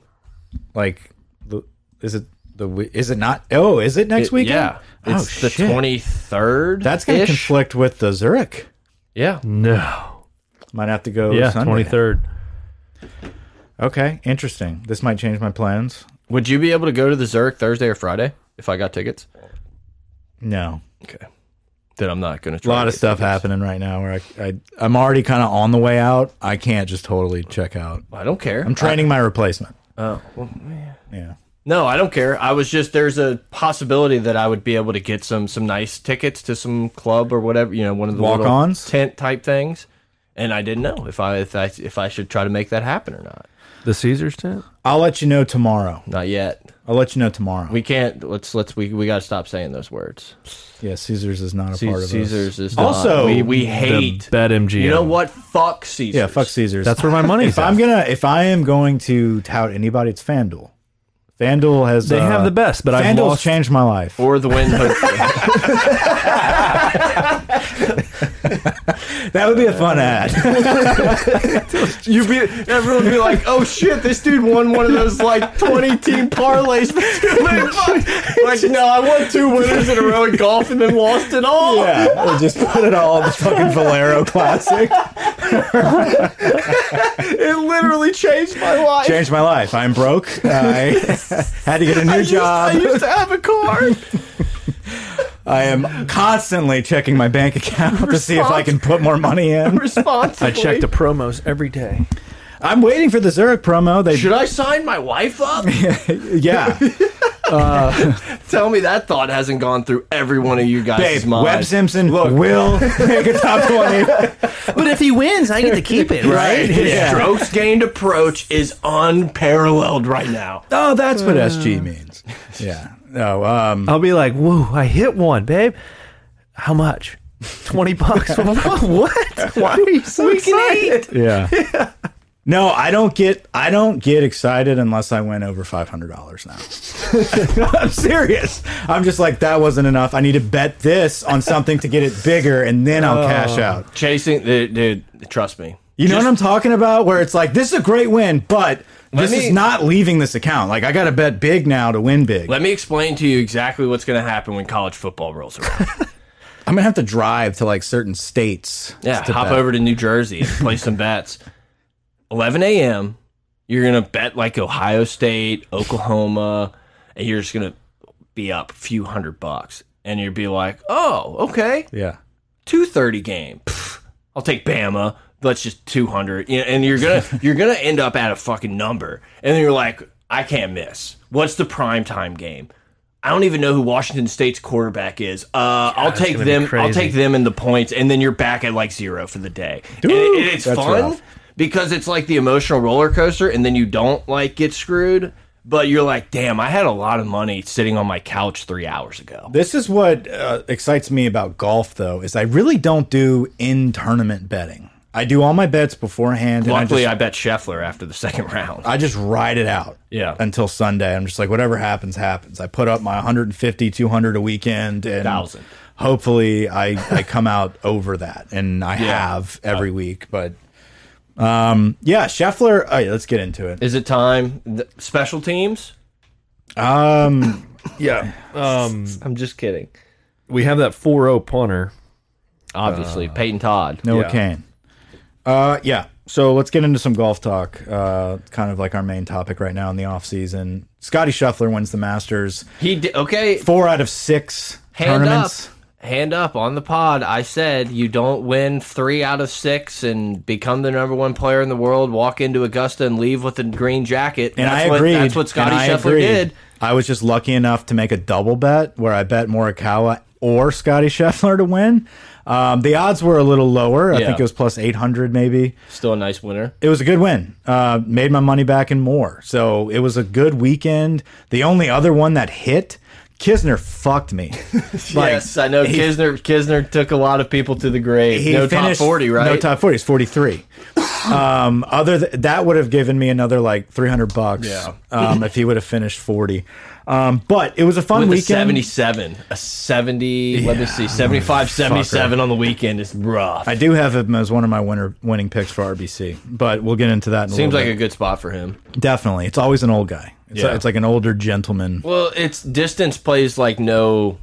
S1: like, the- is it The we- is it not? Oh, is it next weekend?
S5: Yeah,
S1: Oh,
S5: it's the
S1: shit.
S5: twenty third.
S1: That's going to conflict with the Zurich.
S5: Yeah,
S3: No.
S1: Might have to go.
S3: Yeah,
S1: Sunday.
S3: twenty third.
S1: Okay, interesting. This might change my plans.
S5: would you be able to go to the Zurich Thursday or Friday if I got tickets?
S1: No,
S5: Okay, then I'm not going to.
S1: a lot of stuff happening right now. Where I, I I'm already kind of on the way out. I can't just totally check out.
S5: I don't care.
S1: I'm training my replacement.
S5: Oh,
S1: Yeah.
S5: No, I don't care. I was just there's a possibility that I would be able to get some some nice tickets to some club or whatever, you know, one of the little
S1: Walk-ons?
S5: tent type things, and I didn't know if I if I if I should try to make that happen or not.
S3: The Caesars tent.
S1: I'll let you know tomorrow.
S5: Not yet.
S1: I'll let you know tomorrow.
S5: We can't. Let's let's we we got to stop saying those words.
S1: yeah, Caesars is not a
S5: Ce-
S1: part of
S5: Caesars is
S1: Also,
S5: not, we we hate.
S3: The BetMGM.
S5: You know what? Fuck Caesars.
S1: This. Yeah, fuck Caesars.
S3: That's where my money
S1: if
S3: is.
S1: I'm
S3: at.
S1: gonna if I am going to tout anybody, it's FanDuel. FanDuel has
S3: They
S1: uh,
S3: have the best, but I've
S1: FanDuel's
S3: lost-
S1: changed my life.
S5: Or the win.
S1: That would be a fun ad.
S5: you be everyone be like, oh shit, this dude won one of those like twenty team parlays for two million bucks. Like, no, I won two winners in a row in golf and then lost it all.
S1: yeah, we'll just put it all in the fucking Valero Classic.
S5: It literally changed my life.
S1: Changed my life. I'm broke. I had to get a new
S5: I used,
S1: job.
S5: I used to have a car.
S1: I am constantly checking my bank account to see if I can put more money in.
S5: Responsibly.
S3: the promos every day.
S1: I'm waiting for the Zurich promo. They
S5: Should I sign my wife up?
S1: yeah,
S5: Tell me that thought hasn't gone through every one of you guys'
S1: babe.
S5: mind.
S1: Webb Simpson will make a top twenty.
S2: But if he wins, I get to keep it, right?
S5: His
S1: Yeah.
S5: strokes gained approach is unparalleled right now.
S1: Oh, that's what SG means. Yeah. No. Um.
S3: I'll be like, "Whoa, I hit one, babe. How much? Twenty bucks? what? Why are you so excited?
S1: Yeah. No, I don't get I don't get excited unless I win over five hundred dollars now. I'm serious. I'm just like that wasn't enough. I need to bet this on something to get it bigger, and then I'll cash out.
S5: Chasing, dude, dude trust me.
S1: You know what I'm talking about? Where it's like this is a great win, but this
S5: me-
S1: is not leaving this account. Like I got to bet big now to win big.
S5: Let me explain to you exactly what's going to happen when college football rolls around.
S1: I'm gonna have to drive to like certain states.
S5: Yeah,
S1: to
S5: hop
S1: bet.
S5: over to New Jersey and play some bets. 11 a.m., you're going to bet like Ohio State, Oklahoma, and you're just going to be up a few hundred bucks. And you'd be like, oh, okay,
S1: Yeah.
S5: 230 game. Pff, I'll take Bama. Let's just 200. You know, and you're going to you're going to end up at a fucking number. And then you're like, I can't miss. What's the prime time game? I don't even know who Washington State's quarterback is. Uh, I'll take
S3: gonna be
S5: them. I'll
S3: crazy.
S5: take them in the points, and then you're back at like zero for the day. And it- and it's
S1: That's
S5: fun
S1: rough.
S5: because it's like the emotional roller coaster, and then you don't like get screwed, but you're like, damn, I had a lot of money sitting on my couch three hours ago.
S1: This is what uh, excites me about golf, though, is I really don't do in tournament betting. I do all my bets beforehand.
S5: Luckily,
S1: and
S5: I bet Scheffler after the second
S1: I
S5: round.
S1: just, I just ride it out.
S5: Yeah.
S1: Until Sunday, I'm just like whatever happens, happens. I put up my 150, 200 a weekend, and
S5: Thousand.
S1: Hopefully, I I come out over that, and I have every week. But um, yeah, Scheffler. All right, let's get into it.
S5: Is it time? Th- Special teams?
S1: Um,
S3: Yeah. Um,
S5: I'm just kidding.
S3: we have that 4-0 punter.
S5: Obviously,
S1: Uh,
S5: Peyton Todd.
S1: Noah
S3: Yeah.
S1: Kane. Uh, yeah. So let's get into some golf talk. Uh, kind of like our main topic right now in the off season. Scotty Scheffler wins the Masters.
S5: He di okay.
S1: Four out of six
S5: Hand up,
S1: tournaments.
S5: hand up on the pod. I said you don't win three out of six and become the number one player in the world. Walk into Augusta and leave with a green jacket.
S1: And
S5: that's
S1: I
S5: what,
S1: agreed.
S5: That's what Scotty
S1: and I
S5: Scheffler
S1: agreed.
S5: did.
S1: I was just lucky enough to make a double bet where I bet Morikawa or Scotty Scheffler to win. Um, the odds were a little lower. I
S5: Yeah.
S1: think it was plus 800 maybe.
S5: Still a nice winner.
S1: it was a good win. Uh, made my money back and more. So it was a good weekend. The only other one that hit, Kisner fucked me. Like,
S5: yes, I know.
S1: he-
S5: Kisner Kisner took a lot of people to the grave.
S1: he
S5: no
S1: finished-
S5: top forty, right?
S1: No top forty. He's forty three. um, other th that would have given me another like three hundred bucks.
S5: Yeah.
S1: um, if he would have finished forty. Um, but it was a fun
S5: With a
S1: weekend.
S5: 77, a 70, let me see, 75, 77 on the weekend is rough.
S1: I do have him as one of my winner winning picks for RBC, but we'll get into that. In a
S5: Seems
S1: little
S5: like
S1: bit.
S5: a good spot for him.
S1: Definitely. It's always an old guy. It's, yeah. it's like an older gentleman.
S5: Well, it's distance plays like no.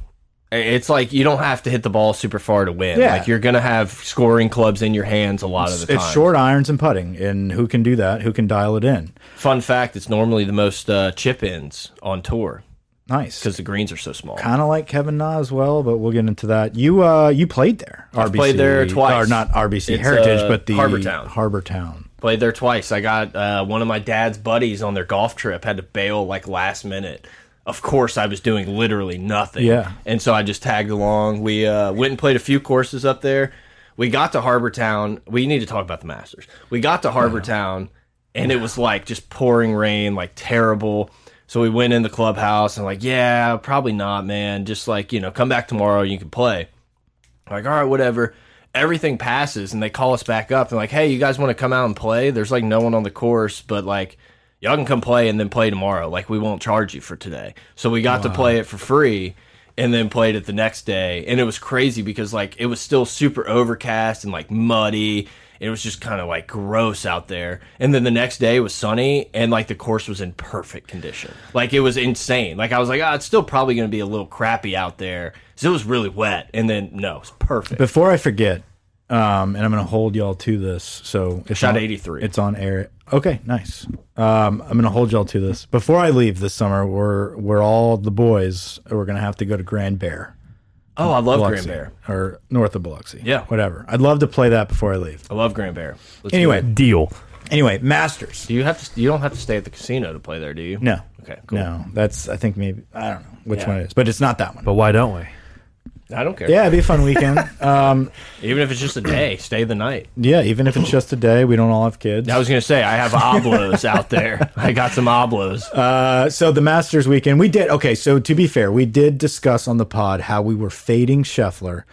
S5: It's like you don't have to hit the ball super far to win.
S1: Yeah.
S5: Like you're gonna have scoring clubs in your hands a lot of the time.
S1: it's short irons and putting, and who can do that? Who can dial it in?
S5: Fun fact: It's normally the most uh, chip ins on tour
S1: Nice.
S5: because the greens are so small.
S1: Kind of like Kevin Na as well, but we'll get into that. You uh, you played there. RBC,
S5: played there twice.
S1: Or not RBC
S5: It's,
S1: Heritage,
S5: uh,
S1: but the
S5: Harbortown.
S1: Harbortown.
S5: Played there twice. I got uh, one of my dad's buddies on their golf trip had to bail like last minute. Of course, I was doing literally nothing.
S1: Yeah.
S5: and so I just tagged along. We uh, went and played a few courses up there. We got to Harbortown. We need to talk about the Masters. We got to Harbortown, and it was like just pouring rain, like terrible. So we went in the clubhouse and like, yeah, probably not, man. Just like you know, come back tomorrow. You can play. Like, all right, whatever. Everything passes, and they call us back up. and like, hey, you guys want to come out and play? There's like no one on the course, but like, y'all can come play and then play tomorrow. Like, we won't charge you for today. So we got to play it for free and then played it the next day. And it was crazy because like it was still super overcast and like muddy. It was just kind of like gross out there. And then the next day was sunny and like the course was in perfect condition. Like it was insane. Like I was like, ah, it's still probably going to be a little crappy out there. So it was really wet. And then no, it's perfect.
S1: Before I forget, um, and I'm going to hold y'all to this. So it's
S5: Shot
S1: on-
S5: 83.
S1: It's on air. Okay, nice. Um, I'm going to hold y'all to this. Before I leave this summer, we're we're all the boys. We're going to have to go to Grand Bear,
S5: oh, I love
S1: Biloxi,
S5: Grand Bear.
S1: or north of Biloxi.
S5: Yeah.
S1: whatever. I'd love to play that before I leave.
S5: I love Grand Bear. Let's do it.
S1: Anyway,
S3: Deal.
S1: anyway, Masters.
S5: do you have to? You don't have to stay at the casino to play there, do you?
S1: No.
S5: Okay. Cool.
S1: No, that's I think maybe I don't know which one it is, but it's not that one.
S3: But why don't we?
S5: I don't care.
S1: yeah, it'd be a fun weekend. um,
S5: Even if it's just a day, stay the night.
S1: yeah, even if it's just a day, we don't all have kids.
S5: I was gonna say I have oblos out there. I got some oblos.
S1: Uh, so the Masters weekend, we did okay. So to be fair, we did discuss on the pod how we were fading Scheffler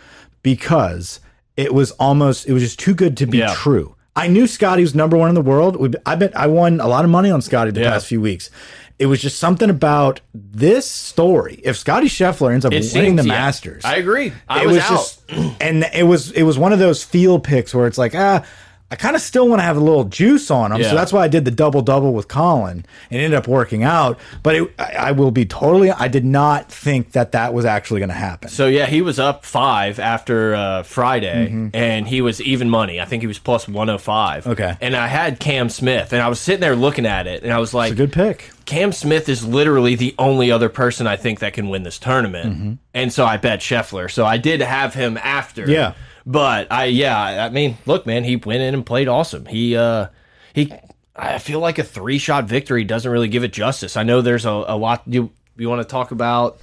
S1: because it was almost it was just too good to be
S5: Yeah.
S1: true. I knew Scotty was number one in the world. We, I bet I won a lot of money on Scotty the
S5: Yeah.
S1: past few weeks. It was just something about this story. If Scotty Scheffler ends up winning
S5: seems-
S1: the
S5: yeah.
S1: Masters,
S5: I agree. I
S1: it
S5: was,
S1: was,
S5: out.
S1: just and it was it was one of those feel picks where it's like ah I kind of still want to have a little juice on him,
S5: Yeah.
S1: so that's why I did the double double with Colin and ended up working out. But it, I, I will be totally. I did not think that that was actually going to happen.
S5: so yeah, he was up five after uh, Friday,
S1: Mm-hmm.
S5: and he was even money. I think he was plus one hundred five.
S1: Okay.
S5: And I had Cam Smith, and I was sitting there looking at it, and I was like,
S1: Good pick.
S5: Cam Smith is literally the only other person I think that can win this tournament.
S1: Mm-hmm.
S5: And so I bet Scheffler. So I did have him after.
S1: Yeah.
S5: But I yeah, I- I mean, look, man, he went in and played awesome. He uh he I feel like a three shot victory doesn't really give it justice. I know there's a, a lot you you want to talk about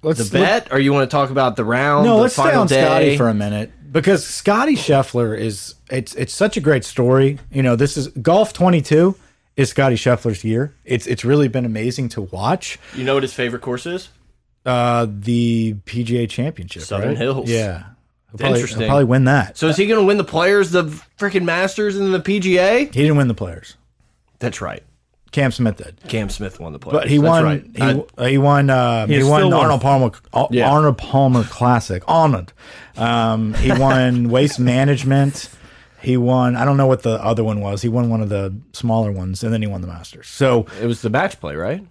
S1: Let's
S5: the bet or you want to talk about the round,
S1: No,
S5: the
S1: let's stay
S5: final
S1: on
S5: day.
S1: Scotty for a minute because Scotty Scheffler is it's it's such a great story. You know, this is golf twenty two is Scotty Scheffler's year. It's it's really been amazing to watch.
S5: you know what his favorite course is?
S1: Uh, the PGA Championship,
S5: Southern
S1: right?
S5: Hills.
S1: Yeah, He'll probably, he'll
S5: Interesting.
S1: probably win that.
S5: So is he going to win the players, the freaking Masters, and the PGA?
S1: He didn't win the players.
S5: That's right.
S1: Cam Smith did,
S5: Cam Smith won the players.
S1: but he
S5: That's
S1: won.
S5: right.
S1: He,
S5: I-
S1: uh, he won. Uh, he
S3: He
S1: won
S3: still
S1: the
S3: won.
S1: Arnold Palmer. Al-
S5: Yeah.
S1: Arnold Palmer Classic. Arnold. Um, he won Waste Management. He won. I don't know what the other one was. He won one of the smaller ones, and then he won the Masters. So
S5: It was the match play, right?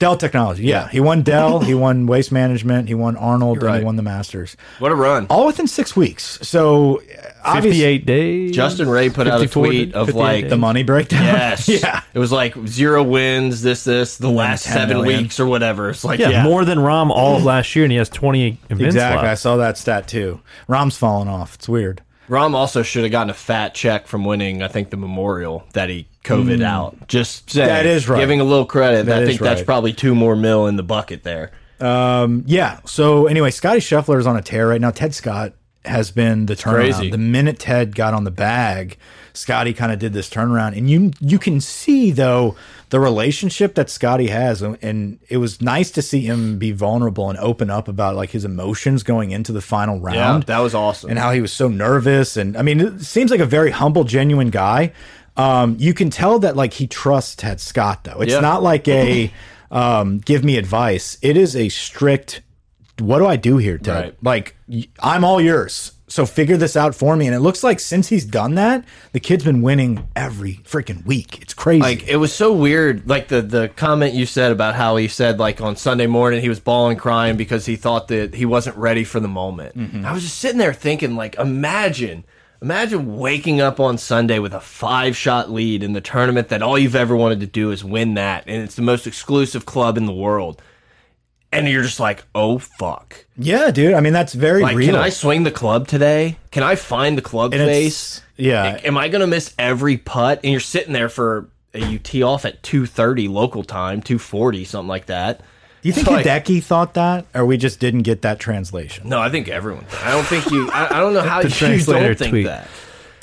S1: Dell Technology. Yeah, he won Dell. he won Waste Management. He won Arnold, and
S5: right.
S1: he won the Masters.
S5: What a run.
S1: All within six weeks. So obviously,
S3: Fifty-eight days.
S5: Justin Ray put out a
S3: 54
S5: tweet of
S3: 58
S5: like,
S1: the money breakdown.
S5: yes.
S1: yeah.
S5: It was like zero wins, this, this, the last
S1: 10
S5: seven
S1: million.
S5: weeks or whatever. It's like,
S3: Yeah,
S5: yeah.
S3: more than Rom all of last year, and he has twenty events
S1: Exactly. I
S3: left.
S1: saw that stat too. Rom's falling off. It's weird.
S5: Rom also should have gotten a fat check from winning, I think, the memorial that he COVID out. Just saying.
S1: Mm. That is right.
S5: Giving a little credit.
S1: That
S5: I
S1: is
S5: think that's
S1: right.
S5: probably two more mil in the bucket there.
S1: Yeah. So anyway, Scotty Scheffler is on a tear right now. Ted Scott has been the turnaround.
S5: crazy.
S1: The minute Ted got on the bag, Scotty kind of did this turnaround, and you you can see though the relationship that Scotty has, and- and it was nice to see him be vulnerable and open up about like his emotions going into the final
S5: Yeah,
S1: round
S5: that was awesome.
S1: and how he was so nervous and i mean it seems like a very humble genuine guy um, you can tell that like he trusts ted scott though it's
S5: Yeah.
S1: not like a um, give me advice it is a strict what do i do here ted
S5: Right.
S1: like y- i'm all yours So figure this out for me. And it looks like since he's done that, the kid's been winning every freaking week. It's crazy.
S5: Like it was so weird. Like the the comment you said about how he said like on Sunday morning he was bawling crying because he thought that he wasn't ready for the moment. I was just sitting there thinking like imagine imagine waking up on Sunday with a five shot lead in the tournament that all you've ever wanted to do is win that and it's the most exclusive club in the world. And you're just like, "Oh fuck."
S1: yeah, dude. I mean, that's very
S5: Like,
S1: real.
S5: can I swing the club today? Can I find the club
S1: And it's-
S5: face?
S1: yeah.
S5: Am I going to miss every putt? And you're sitting there for a you tee off at two thirty local time, two forty, something like that.
S1: Do you think
S5: like-
S1: Hideki thought that, or we just didn't get that translation?
S5: No, I think everyone. I don't think you. I, I don't know how you
S3: translator
S5: don't think
S3: tweet.
S5: that.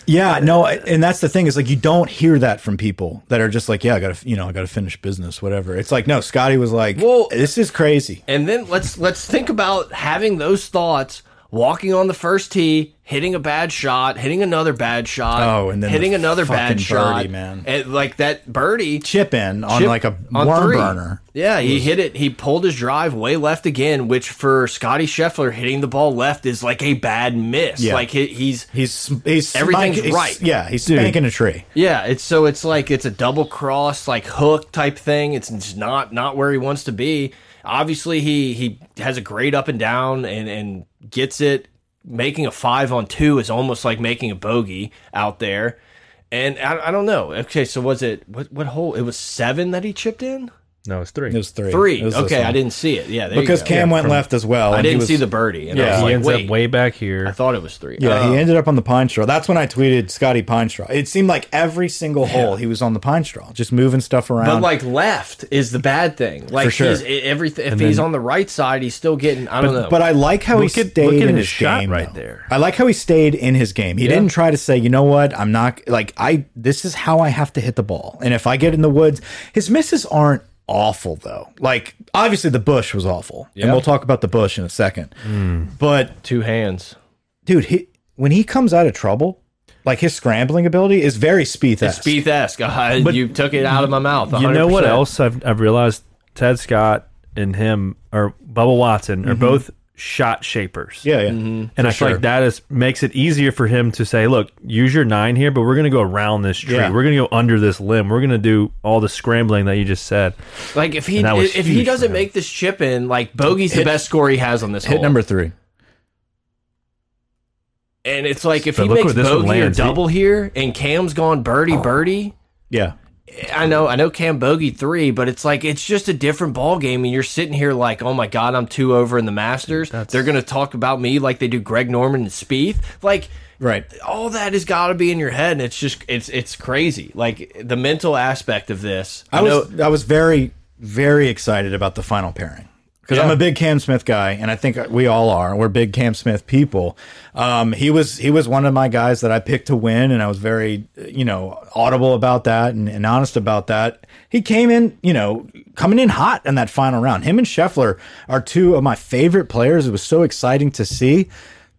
S1: Yeah, no, and that's the thing is like you don't hear that from people that are just like, yeah, I got to, you know, I got to finish business, whatever. It's like, no, Scotty was like,
S5: Well-
S1: this is crazy.
S5: And then let's let's think about having those thoughts, walking on the first tee, hitting a bad shot, hitting another bad shot,
S1: Oh, and then
S5: hitting
S1: the
S5: another bad
S1: fucking
S5: shot,
S1: birdie, man.
S5: And like that birdie
S1: Chip in on
S5: chip
S1: like a
S5: on
S1: worm
S5: three.
S1: burner.
S5: Yeah, he hit it. He pulled his drive way left again, which for Scotty Scheffler hitting the ball left is like a bad miss.
S1: Yeah.
S5: Like he, he's
S1: He's he's
S5: Everything's
S1: he's-
S5: right.
S1: yeah, he's spanking a tree.
S5: yeah. It's so it's like it's a double cross like hook type thing. It's just not not where he wants to be. Obviously, he he has a great up and down and and gets it. Making a five on two is almost like making a bogey out there. And I, I don't know. Okay, so was it what what hole? It was seven that he chipped in.
S3: No, it's three.
S1: It was three.
S5: Three.
S1: It was this
S5: okay,
S1: one.
S5: I didn't see it. Yeah, there you
S1: because
S5: go.
S1: Cam went left as well.
S5: I
S1: and he
S5: didn't
S1: was-
S5: see the birdie, and I
S1: Yeah.
S5: was
S3: he
S5: like,
S3: ends
S5: wait,
S3: up way back here.
S5: I thought it was three.
S1: Yeah, he ended up on the pine straw. That's when I tweeted Scotty Pine Straw. It seemed like every single hole he was on the pine straw, just moving stuff around.
S5: but like left is the bad thing. Like
S1: sure.
S5: he's, everything. If he's on the right side, he's still getting. I don't know.
S1: But I like how he
S3: Look at-
S1: stayed
S3: look at
S1: in
S3: his
S1: his,
S3: shot
S1: game
S3: right
S1: though.
S3: there.
S1: I like how he stayed in his game. He didn't try to say, you know what, I'm not like I. This is how I have to hit the ball, and if I get in the woods, his misses aren't awful though. Like obviously the bush was awful, and we'll talk about the bush in a second. But
S5: two hands.
S1: dude, he, when he comes out of trouble, like his scrambling ability is very Spieth.
S5: Speeth esque. uh, you took it out of my mouth. 100%.
S3: You know what else I've, I've realized? Ted Scott and him, or Bubba Watson,
S5: Mm-hmm.
S3: are both shot shapers.
S1: Yeah, yeah.
S3: And I feel like that is makes it easier for him to say, "Look, use your nine here, but we're going to go around this tree.
S1: Yeah.
S3: We're going to go under this limb. We're going to do all the scrambling that you just said."
S5: Like if he
S3: And that was
S5: if he
S3: huge for
S5: doesn't
S3: him.
S5: make this chip in, like bogey's the best score he has on this
S1: Hit
S3: Oh.
S5: hole.
S1: number three.
S5: and it's like if
S3: But
S5: he
S3: look
S5: makes
S3: where this one
S5: bogey or
S3: lands. He- Oh.
S5: double here, and Cam's gone birdie birdie.
S1: Yeah.
S5: I know, I know Cam Bogey three, but it's like it's just a different ball game, and you're sitting here like, oh my god, I'm two over in the Masters. They're gonna talk about me like they do Greg Norman and Spieth. Like
S1: Right.
S5: all that has got to be in your head, and it's just it's it's crazy. Like the mental aspect of this.
S1: I was I was very very excited about the final pairing because I'm a big Cam Smith guy, and I think we all are. We're big Cam Smith people. Um, he was he was one of my guys that I picked to win, and I was very you know audible about that and, and honest about that. He came in you know coming in hot in that final round. Him and Scheffler are two of my favorite players. It was so exciting to see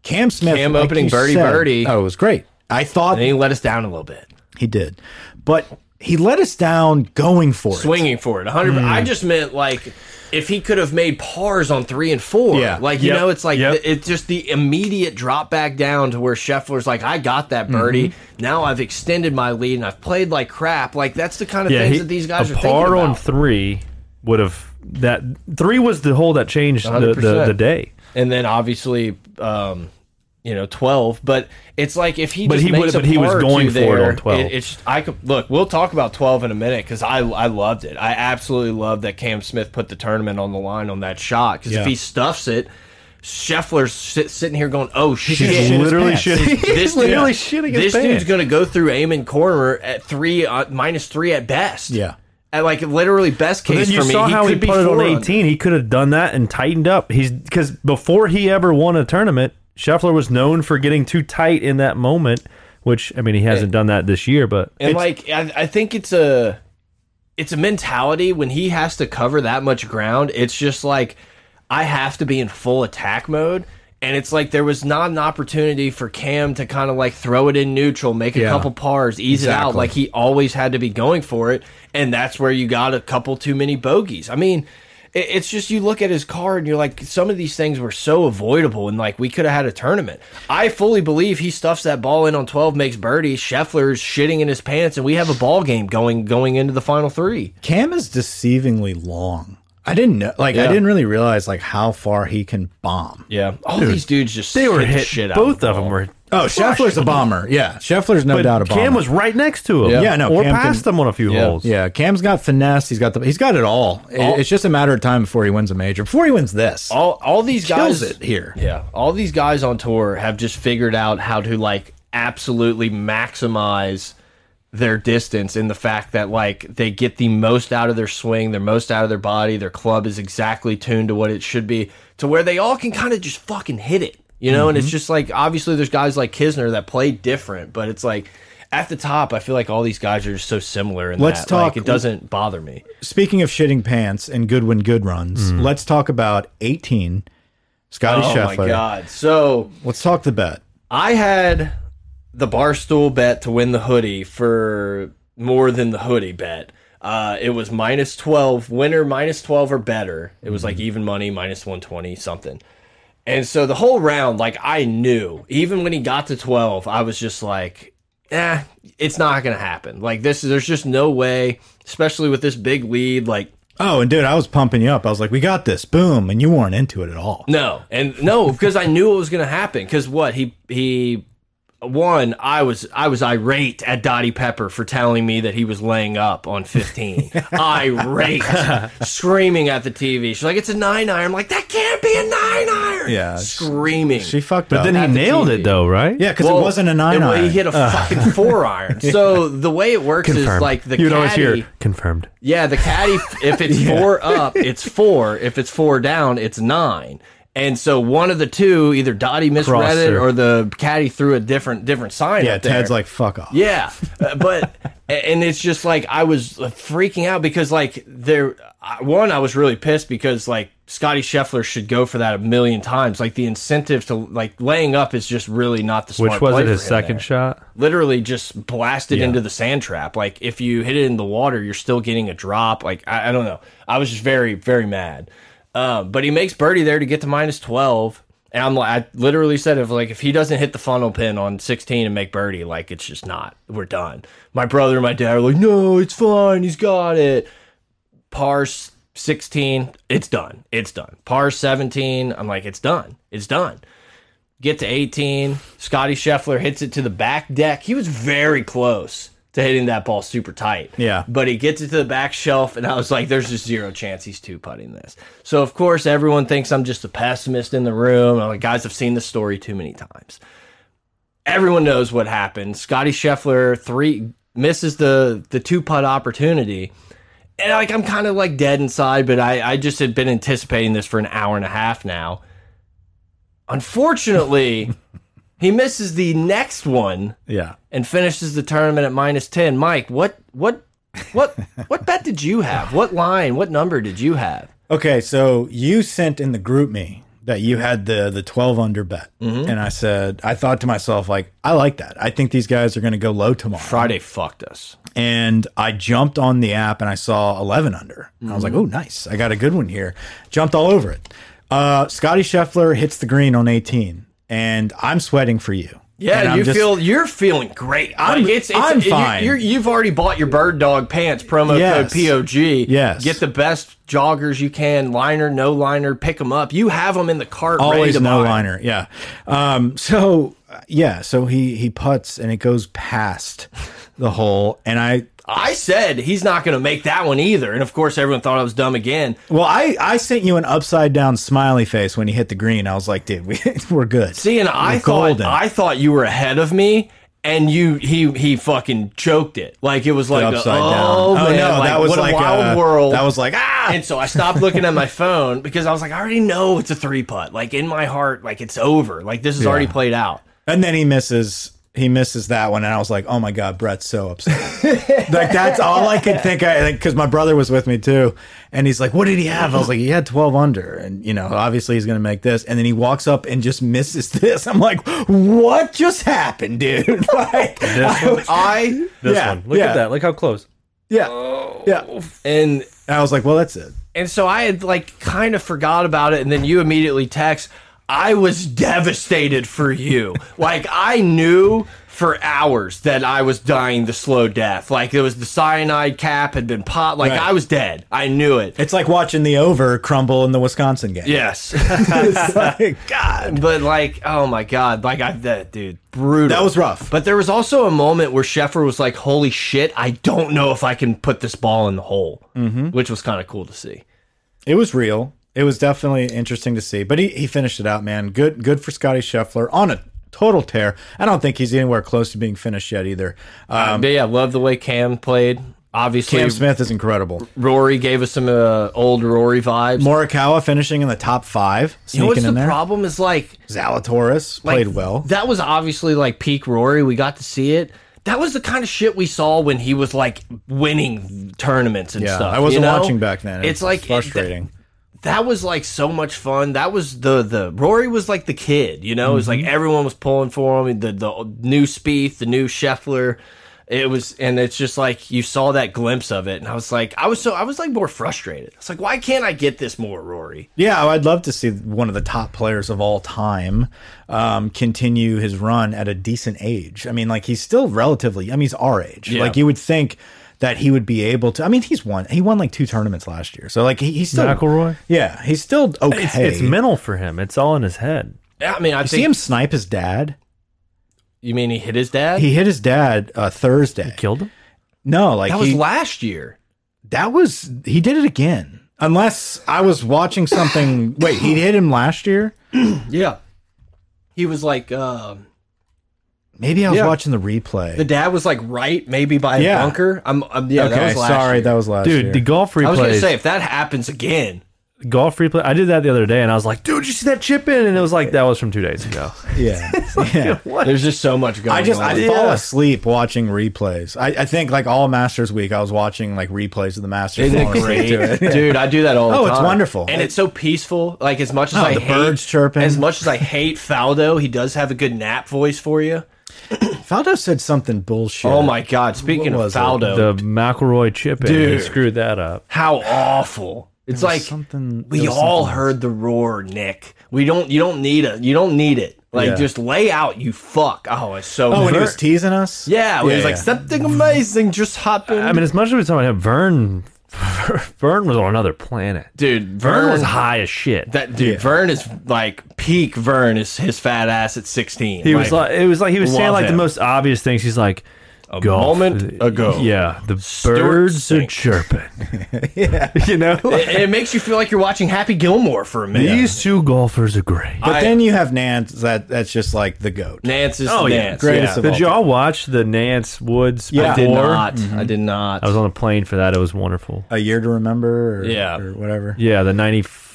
S1: Cam Smith.
S5: Cam
S1: like
S5: opening
S1: you
S5: birdie,
S1: said,
S5: birdie.
S1: Oh, it was great. I thought
S5: and he let us down a little bit,
S1: he did, but he let us down going for it.
S5: swinging for it. 100.
S3: Mm.
S5: I just meant like. If he could have made pars on three and four,
S1: Yeah.
S5: like you
S3: Yep.
S5: know, it's like
S3: Yep.
S5: it's just the immediate drop back down to where Scheffler's like, I got that
S3: Mm-hmm.
S5: birdie. Now I've extended my lead and I've played like crap. Like that's the kind of things
S3: he-
S5: that these guys
S3: a
S5: are thinking
S3: par
S5: about.
S3: on three would have that three was the hole that changed the, the
S5: 100%.
S3: the day.
S5: and then obviously um you know 12 but it's like if he
S3: But
S5: just
S3: he
S5: makes
S3: would-
S5: a
S3: but he was
S5: par or two
S3: going for it
S5: there,
S3: on 12.
S5: it's i could look we'll talk about 12 in a minute because i i loved it i absolutely loved that cam smith put the tournament on the line on that shot because
S1: Yeah.
S5: if he stuffs it Scheffler's sit, sitting here going, "Oh
S1: shit
S5: shit!"
S1: his
S3: literally
S1: pants.
S3: shitting.
S5: This
S3: literally
S5: dude,
S3: shitting his
S5: This dude's
S3: pants.
S5: gonna go through Amon corner at three, uh, minus three at best.
S1: Yeah.
S5: at like literally best
S3: But
S5: case
S3: then you
S5: for me.
S3: saw
S5: he
S3: how
S5: could
S3: he
S5: be
S3: putted on
S5: four under.
S3: 18. He could have done that and tightened up. He's because before he ever won a tournament, Scheffler was known for getting too tight in that moment. Which I mean, he hasn't done that this year, but
S5: and like I, I think it's a it's a mentality when he has to cover that much ground it's just like i have to be in full attack mode and it's like there was not an opportunity for cam to kind of like throw it in neutral make a couple pars ease it out
S1: Exactly.
S5: like he always had to be going for it and that's where you got a couple too many bogeys i mean it- it's just you look at his card and you're like, some of these things were so avoidable, and like we could have had a tournament. I fully believe he stuffs that ball in on 12, makes birdie. Scheffler's shitting in his pants, and we have a ball game going going into the final three.
S1: Cam is deceivingly long. I didn't know. Like I
S5: Yeah.
S1: didn't really realize like how far he can bomb.
S5: Yeah, all these dudes just
S3: They were
S5: hit the
S3: hit.
S5: shit out
S3: both of
S5: ball.
S3: them were.
S1: Oh, Scheffler's a bomber. Yeah, Scheffler's no
S3: But
S1: doubt a bomber.
S3: Cam was right next to him.
S5: Yeah.
S1: Yeah, no,
S3: or
S1: Cam
S3: past
S1: can-
S3: him on a few
S5: Yeah.
S3: holes.
S1: Yeah, Cam's got finesse. He's got the. He's got it all. It- It's just a matter of time before he wins a major. Before he wins this,
S5: all all these
S1: Kills
S5: guys
S1: it here.
S5: Yeah, all these guys on tour have just figured out how to like absolutely maximize their distance in the fact that like they get the most out of their swing, they're most out of their body, their club is exactly tuned to what it should be, to where they all can kind of just fucking hit it. You know, and it's just like obviously there's guys like Kisner that play different, but it's like at the top, I feel like all these guys are just so similar in
S1: Let's
S5: that like,
S1: talk-
S5: it doesn't bother me.
S1: speaking of shitting pants and good when good runs, let's talk about eighteen, Scotty
S5: Mm. Oh
S1: Scheffler.
S5: my god. So
S1: Let's talk the bet.
S5: I had the barstool bet to win the hoodie for more than the hoodie bet. Uh, it was minus 12, winner minus 12 or better. It was like even money, minus 120, something. And so the whole round, like I knew, even when he got to 12, I was just like, eh, it's not going to happen. Like this, there's just no way, especially with this big lead. Like,
S1: Oh, and dude, I was pumping you up. I was like, "We got this!" Boom, and you weren't into it at all.
S5: No, and no, because I knew it was going to happen. Because what he he one, I was I was irate at Dottie Pepper for telling me that he was laying up on fifteen. irate, screaming at the TV. She's like, "It's a nine iron." I'm like, "That can't be a nine iron."
S1: Yeah, she-
S5: screaming.
S1: She fucked up.
S3: Then he
S5: At the
S3: nailed
S5: TV.
S3: it though, right?
S1: yeah, because
S5: Well,
S1: it wasn't a nine
S5: it-
S1: iron.
S5: He hit a fucking four iron. So the way it works
S3: Confirmed.
S5: is like the
S3: You'd
S5: caddy,
S3: always hear confirmed.
S5: yeah, the caddy, if it's four up, it's four. If it's four down, it's nine. And so one of the two, either Dottie misread it
S3: Crosser.
S5: or the caddy threw a different different sign.
S1: yeah,
S5: up there.
S1: Ted's like, "Fuck off."
S5: Yeah, uh, but and it's just like I was uh, freaking out because like there I- one I was really pissed because like Scotty Scheffler should go for that a million times. Like the incentive to like laying up is just really not the smart
S3: Which was
S5: play
S3: it?
S5: for
S3: His
S5: him
S3: second
S5: there.
S3: shot.
S5: Literally just blasted into the sand trap. Like if you hit it in the water, you're still getting a drop. Like I, I don't know. I was just very very mad. Um, but he makes birdie there to get to minus twelve. And I'm like, I literally said, if like if he doesn't hit the funnel pin on 16 and make birdie, like it's just not, we're done. My brother and my dad are like, no, it's fine, he's got it. Par s- 16, it's done, it's done. Par 17, I'm like, it's done, it's done. Get to 18, Scotty Scheffler hits it to the back deck. He was very close to hitting that ball super tight.
S1: Yeah.
S5: But he gets it to the back shelf, and I was like, there's just zero chance he's two putting this. So, of course, everyone thinks I'm just a pessimist in the room. I'm like, guys, I've seen this story too many times. Everyone knows what happened. Scotty Scheffler three misses the the two putt opportunity. And like I'm kind of like dead inside, but I, I just had been anticipating this for an hour and a half now. Unfortunately, he misses the next one
S1: Yeah.
S5: and finishes the tournament at minus 10. Mike, what what what what bet did you have? What line? What number did you have?
S1: Okay, so you sent in the group me that you had the the 12 under bet.
S5: Mm-hmm.
S1: And I said, I thought to myself like, I like that. I think these guys are going to go low tomorrow.
S5: Friday fucked us.
S1: And I jumped on the app and I saw 11 under. And I was like,
S5: Mm-hmm.
S1: "Oh, nice. I got a good one here." Jumped all over it. Uh Scotty Scheffler hits the green on 18 and I'm sweating for you. And
S5: Yeah,
S1: I'm
S5: you
S1: just-
S5: feel you're feeling great.
S1: I'm- I'm
S5: you-
S1: fine.
S5: You're, you've already bought your bird dog pants promo
S1: Yes.
S5: code POG.
S1: Yes.
S5: get the best joggers you can, liner, no liner, pick them up. You have them in the cart. ready
S1: always
S5: to
S1: no
S5: buy.
S1: liner. Yeah. Um, so uh, yeah, so he he puts and it goes past the hole and I
S5: I said he's not going to make that one either, and of course everyone thought I was dumb again.
S1: Well, I, I sent you an upside down smiley face when he hit the green. I was like, dude, we, we're good.
S5: See, and I
S1: We're
S5: thought
S1: golden.
S5: I thought you were ahead of me, and you he he fucking choked it like it was like a,
S1: upside
S5: oh,
S1: down.
S5: man, like, what a
S1: uh,
S5: wild world.
S1: That was like ah.
S5: and so I stopped looking at my phone because I was like, I already know it's a three putt. Like in my heart, like it's over. Like this is already played out.
S1: and then he misses. He misses that one, and I was like, "Oh my god, Brett's so upset." like that's all I could think. I because my brother was with me too, and he's like, "What did he have?" I was like, "He had twelve under," and you know, obviously he's going to make this. And then he walks up and just misses this. I'm like, "What just happened, dude?" like, I, was-
S5: I
S3: This
S1: Yeah,
S3: one. Look
S1: yeah.
S3: at that. Look how close.
S1: yeah, yeah.
S5: and
S1: And I was like, well, that's it.
S5: And so I had like kind of forgot about it, and then you immediately text. I was devastated for you. like I knew for hours that I was dying the slow death. Like it was the cyanide cap had been pot. Like
S1: Right.
S5: I was dead. I knew it.
S1: It's like watching the over crumble in the Wisconsin game.
S5: Yes,
S1: It's like,
S5: God. But like, oh my God, like I that dude brutal.
S1: That was rough.
S5: But there was also a moment where Sheffer was like, "Holy shit, I don't know if I can put this ball in the hole,"
S1: Mm-hmm.
S5: which was kind of cool to see.
S1: It was real. It was definitely interesting to see. But he, he finished it out, man. Good good for Scotty Scheffler on a total tear. I don't think he's anywhere close to being finished yet either. Uh,
S5: but yeah, love the way Cam played. Obviously,
S1: Cam Smith is incredible.
S5: Rory gave us some uh, old Rory vibes.
S1: Morikawa finishing in the top five,
S5: you
S1: sneaking
S5: know what's the
S1: in there.
S5: problem is like,
S1: Zalatoris
S5: like,
S1: played well.
S5: That was obviously like peak Rory. We got to see it. That was the kind of shit we saw when he was like winning tournaments and
S1: yeah,
S5: stuff.
S1: I wasn't
S5: you know?
S1: watching back then.
S5: It's like it-
S1: frustrating.
S5: that was like so much fun. That was the the Rory was like the kid, you know. It was like
S1: Mm-hmm.
S5: everyone was pulling for him. The the new Spieth, the new Scheffler. It was, and it's just like you saw that glimpse of it, and I was like, I was so I was like more frustrated. It's like, why can't I get this more, Rory?
S1: Yeah, oh, I'd love to see one of the top players of all time um, continue his run at a decent age. I mean, like he's still relatively. I mean, he's our age.
S5: Yeah.
S1: Like you would think that he would be able to. I mean, he's won. He won like two tournaments last year. So like he, he's still
S3: McIlroy?
S1: Yeah, he's still okay.
S3: It's, it's mental for him. It's all in his head.
S5: Yeah, I mean, I
S1: You see
S5: think
S1: him snipe his dad.
S5: you mean he hit his dad.
S1: He hit his dad uh, Thursday.
S3: Killed him.
S1: No, like
S5: that was
S1: he-
S5: last year.
S1: that was he did it again. Unless I was watching something. Wait, he hit him last year.
S5: Yeah, he was like, um
S1: Maybe I was
S5: Yeah.
S1: watching the replay.
S5: the dad was like right, maybe by
S1: Yeah.
S5: a bunker. I'm, I'm yeah, that
S1: okay,
S5: was last
S1: sorry,
S5: year.
S1: that was last
S3: Dude,
S1: year.
S3: the golf replays.
S5: I was gonna say if that happens again,
S3: golf replay. I did that the other day, and I was like, "Dude, you see that chip in?" And it was like, "That was from two days ago."
S1: Yeah. yeah.
S5: there's just so much going.
S1: I just
S5: on.
S1: I fall asleep watching replays. I, I think like all Masters week I was watching like replays of the Masters.
S5: Isn't it
S1: falling asleep
S5: great,
S1: to it.
S5: dude? I do that all the
S1: Oh,
S5: time.
S1: it's wonderful.
S5: and it's so peaceful. Like as much as
S1: Oh,
S5: I
S1: the
S5: hate,
S1: birds chirping.
S5: as much as I hate Faldo, he does have a good nap voice for you.
S1: Faldo said something bullshit.
S5: Oh my god! Speaking
S1: What
S5: of
S1: was it?
S5: Faldo,
S3: The McElroy chip in. He
S5: Dude.
S3: screwed that up.
S5: how awful! It's like
S1: something-
S5: we
S1: there was
S5: all
S1: something else.
S5: heard the roar, Nick. We don't. You don't need it. You don't need it. Like
S1: Yeah.
S5: just lay out. You fuck. Oh, it's so.
S1: Oh, when he
S5: Vern-
S1: was teasing us.
S5: yeah, when he was like
S1: yeah.
S5: something amazing just happened.
S3: I mean, as much as we talk about him, Vern, Vern was on another planet.
S5: dude,
S3: Vern
S5: Vern
S3: was high as shit.
S5: That dude,
S1: Yeah.
S5: Vern is like peak. Vern is his fat ass at sixteen.
S3: He was like, it was like he was saying
S5: love
S3: like the
S5: him.
S3: most obvious things. He's like, a
S5: moment ago,
S3: Yeah, the
S5: Stuart
S3: birds are
S5: Sink."
S3: chirping. you know,
S5: And it makes you feel like you're watching Happy Gilmore for a minute.
S3: these two golfers are great.
S1: But
S5: I-
S1: then you have Nance that that's just like the goat.
S5: Nance is
S3: Oh, yeah.
S5: Nance.
S1: Greatest
S5: yeah.
S1: of all
S3: Did y'all watch the Nance Woods?
S1: Yeah.
S5: I did
S3: before?
S5: not. Mm-hmm. I did not.
S3: I was on the plane for that. It was wonderful.
S1: A year to remember or,
S5: Yeah.
S1: or whatever.
S3: Yeah, the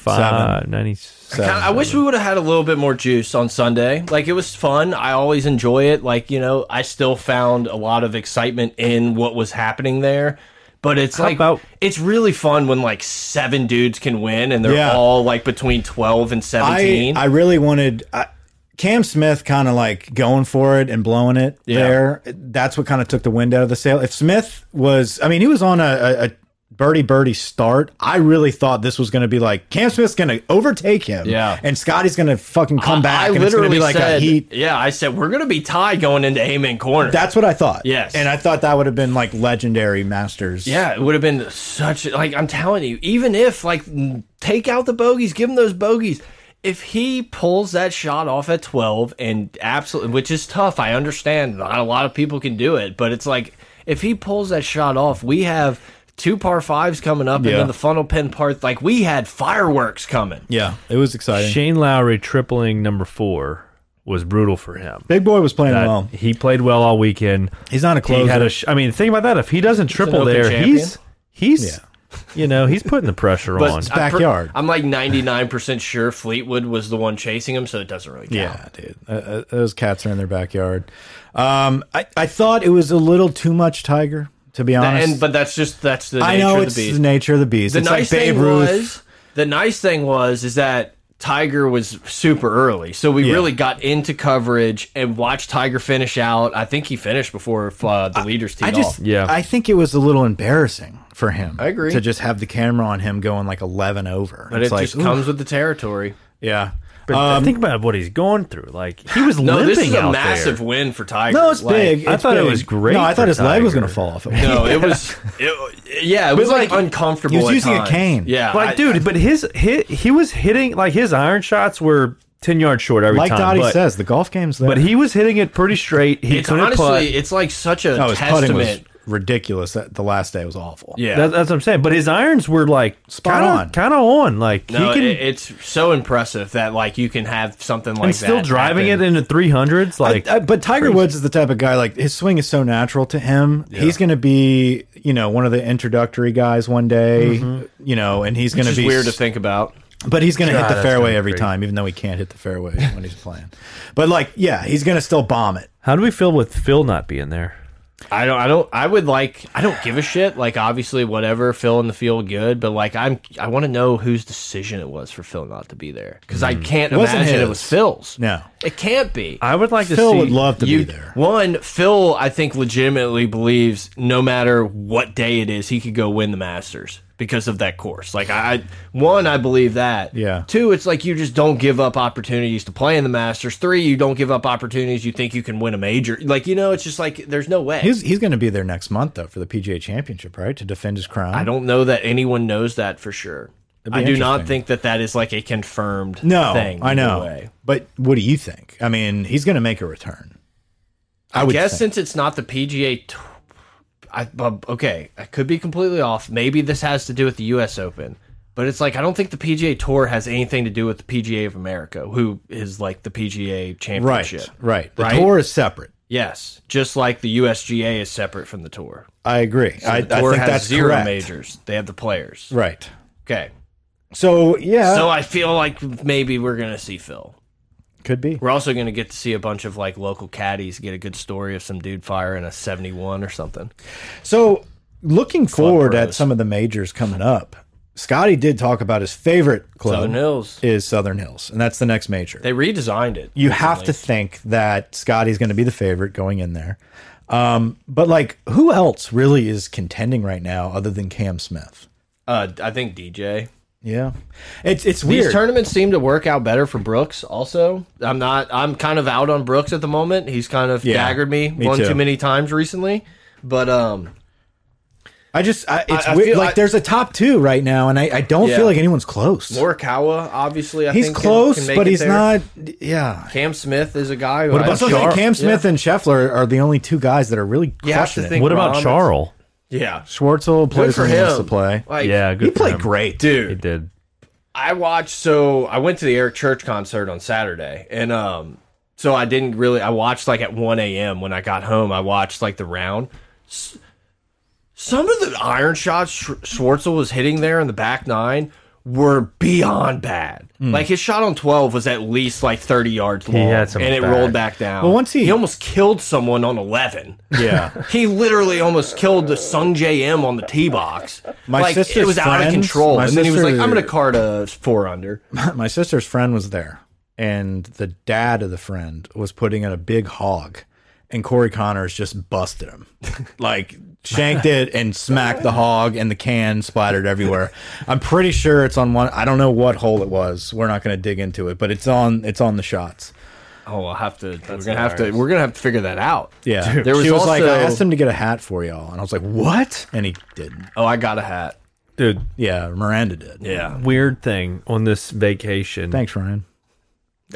S3: 95, 96.
S1: So,
S5: I, I wish we would have had a little bit more juice on Sunday. Like it was fun. I always enjoy it. Like you know, I still found a lot of excitement in what was happening there. But it's like
S3: about-
S5: it's really fun when like seven dudes can win and they're
S1: Yeah.
S5: all like between twelve and
S1: I,
S5: seventeen.
S1: I really wanted I, Cam Smith kind of like going for it and blowing it there. That's what kind of took the wind out of the sail. If Smith was, I mean, he was on a, a, a birdie birdie start. I really thought this was going to be like Cam Smith's going to overtake him.
S5: Yeah.
S1: And Scotty's going to fucking come back. and it's going to be like
S5: said,
S1: a heat.
S5: Yeah, I said we're gonna be tied going into Amen Corner.
S1: That's what I thought.
S5: Yes.
S1: And I thought that would have been like legendary Masters.
S5: yeah, it would have been such like I'm telling you, even if like mm, take out the bogeys, give him those bogeys. If he pulls that shot off at 12 and absolutely, which is tough, I understand. Not a lot of people can do it, but it's like if he pulls that shot off, we have two par fives coming up,
S1: Yeah.
S5: and then the funnel pin part. Like we had fireworks coming.
S1: Yeah. It was exciting.
S3: Shane Lowry tripling number four was brutal for him.
S1: Big boy was playing
S3: That-
S1: well.
S3: He played well all weekend.
S1: He's not a closer.
S3: He had a sh- I mean, think about that. If he doesn't triple
S5: open
S3: there,
S5: champion.
S3: he's he's you know he's putting the pressure on.
S5: I'm per-
S1: backyard.
S5: I'm like 99% sure Fleetwood was the one chasing him, so it doesn't really count.
S1: Yeah, dude. Uh, uh, those cats are in their backyard. Um, I, I thought it was a little too much tiger, to be honest.
S5: And but that's just that's the nature
S1: I know
S5: of
S1: it's
S5: the
S1: the,
S5: beast.
S1: nature of the beast.
S5: The
S1: it's
S5: nice
S1: like Babe
S5: thing
S1: Ruth.
S5: was the nice thing was is that Tiger was super early, so we really got into coverage and watched Tiger finish out. I think he finished before uh, the leaders teed
S1: I just,
S5: off.
S3: Yeah.
S1: I think it was a little embarrassing for him. I
S5: agree.
S1: To just have the camera on him going like 11 over.
S5: But
S1: it's
S5: it
S1: like,
S5: just
S1: ooh,
S5: comes with the territory.
S1: yeah.
S3: think about what he's going through. Like he was
S5: um, No,
S3: limping
S5: this is a
S3: out
S5: massive
S3: there.
S5: win for Tiger.
S1: No, it's
S5: Like,
S1: big.
S3: I
S1: It's
S3: thought it
S1: big.
S3: was great
S1: No, I
S3: for
S1: thought his leg was
S3: Tiger.
S1: going to fall off.
S5: No, it was. It, yeah, it was like,
S1: like,
S5: uncomfortable.
S1: he was
S5: at
S1: using a
S5: times.
S1: cane.
S5: Yeah,
S3: Like,
S5: I-
S3: dude, but his hit, he was hitting like his iron shots were ten yards short every
S1: like
S3: time.
S1: Dottie
S3: but,
S1: says, the golf game's there.
S3: but he was hitting it pretty straight. He
S5: it's
S3: couldn't
S5: honestly,
S3: putt.
S5: it's like such a
S1: no, his putting was
S5: testament.
S1: ridiculous. That the last day was awful.
S5: Yeah,
S3: That- that's what I'm saying. But his irons were like
S1: Spot
S3: kinda-
S1: on.
S3: kind of on. Like
S5: no,
S3: he can
S5: it- it's so impressive that like you can have something like
S3: and still
S5: that
S3: driving
S5: happen.
S3: it in the 300s. Like
S1: I- but Tiger Woods is the type of guy like his swing is so natural to him. He's going to be, you know, one of the introductory guys one day, you know, and he's going
S5: It's
S1: be
S5: just Mm-hmm. weird to think about.
S1: But he's going to hit the
S3: that's
S1: fairway
S3: kinda
S1: every
S3: crazy.
S1: time, even though he can't hit the fairway when he's playing. But like, yeah, he's going to still bomb it.
S3: how do we feel with Phil not being there?
S5: I don't. I don't. I would like. I don't give a shit. Like obviously, whatever. Phil in the field, good. But like, I'm. I want to know whose decision it was for Phil not to be there because I can't
S1: Mm-hmm. wasn't
S5: imagine it
S1: his.
S5: was Phil's.
S1: No.
S5: it can't be.
S3: I would like
S1: Phil
S3: to see.
S1: would love to
S5: you,
S1: be there.
S5: One, Phil, I think, legitimately believes no matter what day it is, he could go win the Masters because of that course. Like, I, I- one, I believe that.
S1: Yeah.
S5: Two, it's like you just don't give up opportunities to play in the Masters. Three, you don't give up opportunities you think you can win a major. Like, you know, it's just like there's no way.
S1: He's he's going to be there next month though for the PGA Championship, right? To defend his crown.
S5: I don't know that anyone knows that for sure.
S1: be
S5: I do not
S1: interesting.
S5: think that that is like a confirmed
S1: No,
S5: thing.
S1: I
S5: either
S1: know.
S5: way.
S1: But what do you think? I mean, he's going to make a return. I, would
S5: guess
S1: think.
S5: since it's not the PGA, t- I, bu- okay, I could be completely off. Maybe this has to do with the U.S. Open, but it's like I don't think the PGA Tour has anything to do with the PGA of America, who is like the PGA
S1: right,
S5: Championship.
S1: right. The
S5: Right?
S1: tour is separate.
S5: Yes, just like the USGA is separate from the Tour.
S1: I agree. I, I
S5: The tour
S1: think
S5: has
S1: that's
S5: zero
S1: correct.
S5: majors. They have the players.
S1: Right.
S5: Okay,
S1: So yeah,
S5: so I feel like maybe we're gonna see Phil.
S1: could be.
S5: We're also gonna get to see a bunch of like local caddies get a good story of some dude firing a seventy-one or something.
S1: So looking forward at
S5: pros.
S1: some of the majors coming up, Scotty did talk about his favorite club
S5: Southern Hills.
S1: is Southern Hills, and that's the next major.
S5: They redesigned it.
S1: you have to think that Scotty's going to be the favorite going in there. Um, but like, who else really is contending right now other than Cam Smith?
S5: Uh, I think DJ.
S1: Yeah, it's it's
S5: These
S1: weird.
S5: tournaments seem to work out better for Brooks. Also, I'm not. I'm kind of out on Brooks at the moment. He's kind of
S1: Yeah,
S5: daggered me,
S1: me
S5: one
S1: too.
S5: too many times recently. But um,
S1: I just I, it's
S5: I- I
S1: weird.
S5: feel-
S1: like
S5: I-
S1: there's a top two right now, and I, I don't
S5: Yeah.
S1: feel like anyone's close.
S5: Morikawa, obviously, I
S1: he's
S5: think can-
S1: close,
S5: can make
S1: but
S5: it
S1: he's
S5: there.
S1: not. Yeah.
S5: Cam Smith is a guy. Who
S3: What
S5: I-
S3: about
S1: Also, think
S3: Char-
S1: Cam Smith and Scheffler are the only two guys that are really
S5: You have to
S1: crushing it.
S5: think-
S3: What about
S5: Rahm,
S3: Charl?
S5: Yeah,
S1: Schwartzel
S5: good
S1: plays
S5: for
S1: when he
S5: him
S1: wants to play.
S5: Like,
S3: Yeah, good.
S1: He
S3: for
S1: played
S3: him.
S1: great,
S3: He
S5: dude.
S3: did.
S5: I watched so I went to the Eric Church concert on Saturday and um so I didn't really I watched like at 1 a.m. when I got home I watched like the round S- some of the iron shots Sch Schwartzel was hitting there in the back nine were beyond bad like his shot on 12 was at least like 30 yards long
S3: had some
S5: and it
S3: bad-
S5: rolled back down
S1: Well, once he-
S5: he almost killed someone on 11
S1: Yeah.
S5: he literally almost killed the Sung J M on the tee box.
S1: My
S5: like, it
S1: sister's
S5: was out of
S1: friends-
S5: control.
S1: my
S5: And then he was like,
S1: sister-
S5: "I'm gonna card a four under."
S1: My sister's friend was there, and the dad of the friend was putting in a big hog, and Corey Connors just busted him. like, shanked it and smacked the hog, and the can splattered everywhere. I'm pretty sure it's on one. I don't know what hole it was. We're not going to dig into it, but it's on it's on the shots.
S5: Oh, I'll have to. we're gonna have to. We're gonna have to figure that out.
S1: Yeah.
S5: there was,
S1: she was like,
S5: also-
S1: I asked him to get a hat for y'all. And I was like, what? And he didn't.
S5: Oh, I got a hat.
S3: Dude,
S1: Yeah. Miranda did.
S5: Yeah,
S3: weird thing on this vacation.
S1: Thanks, Ryan.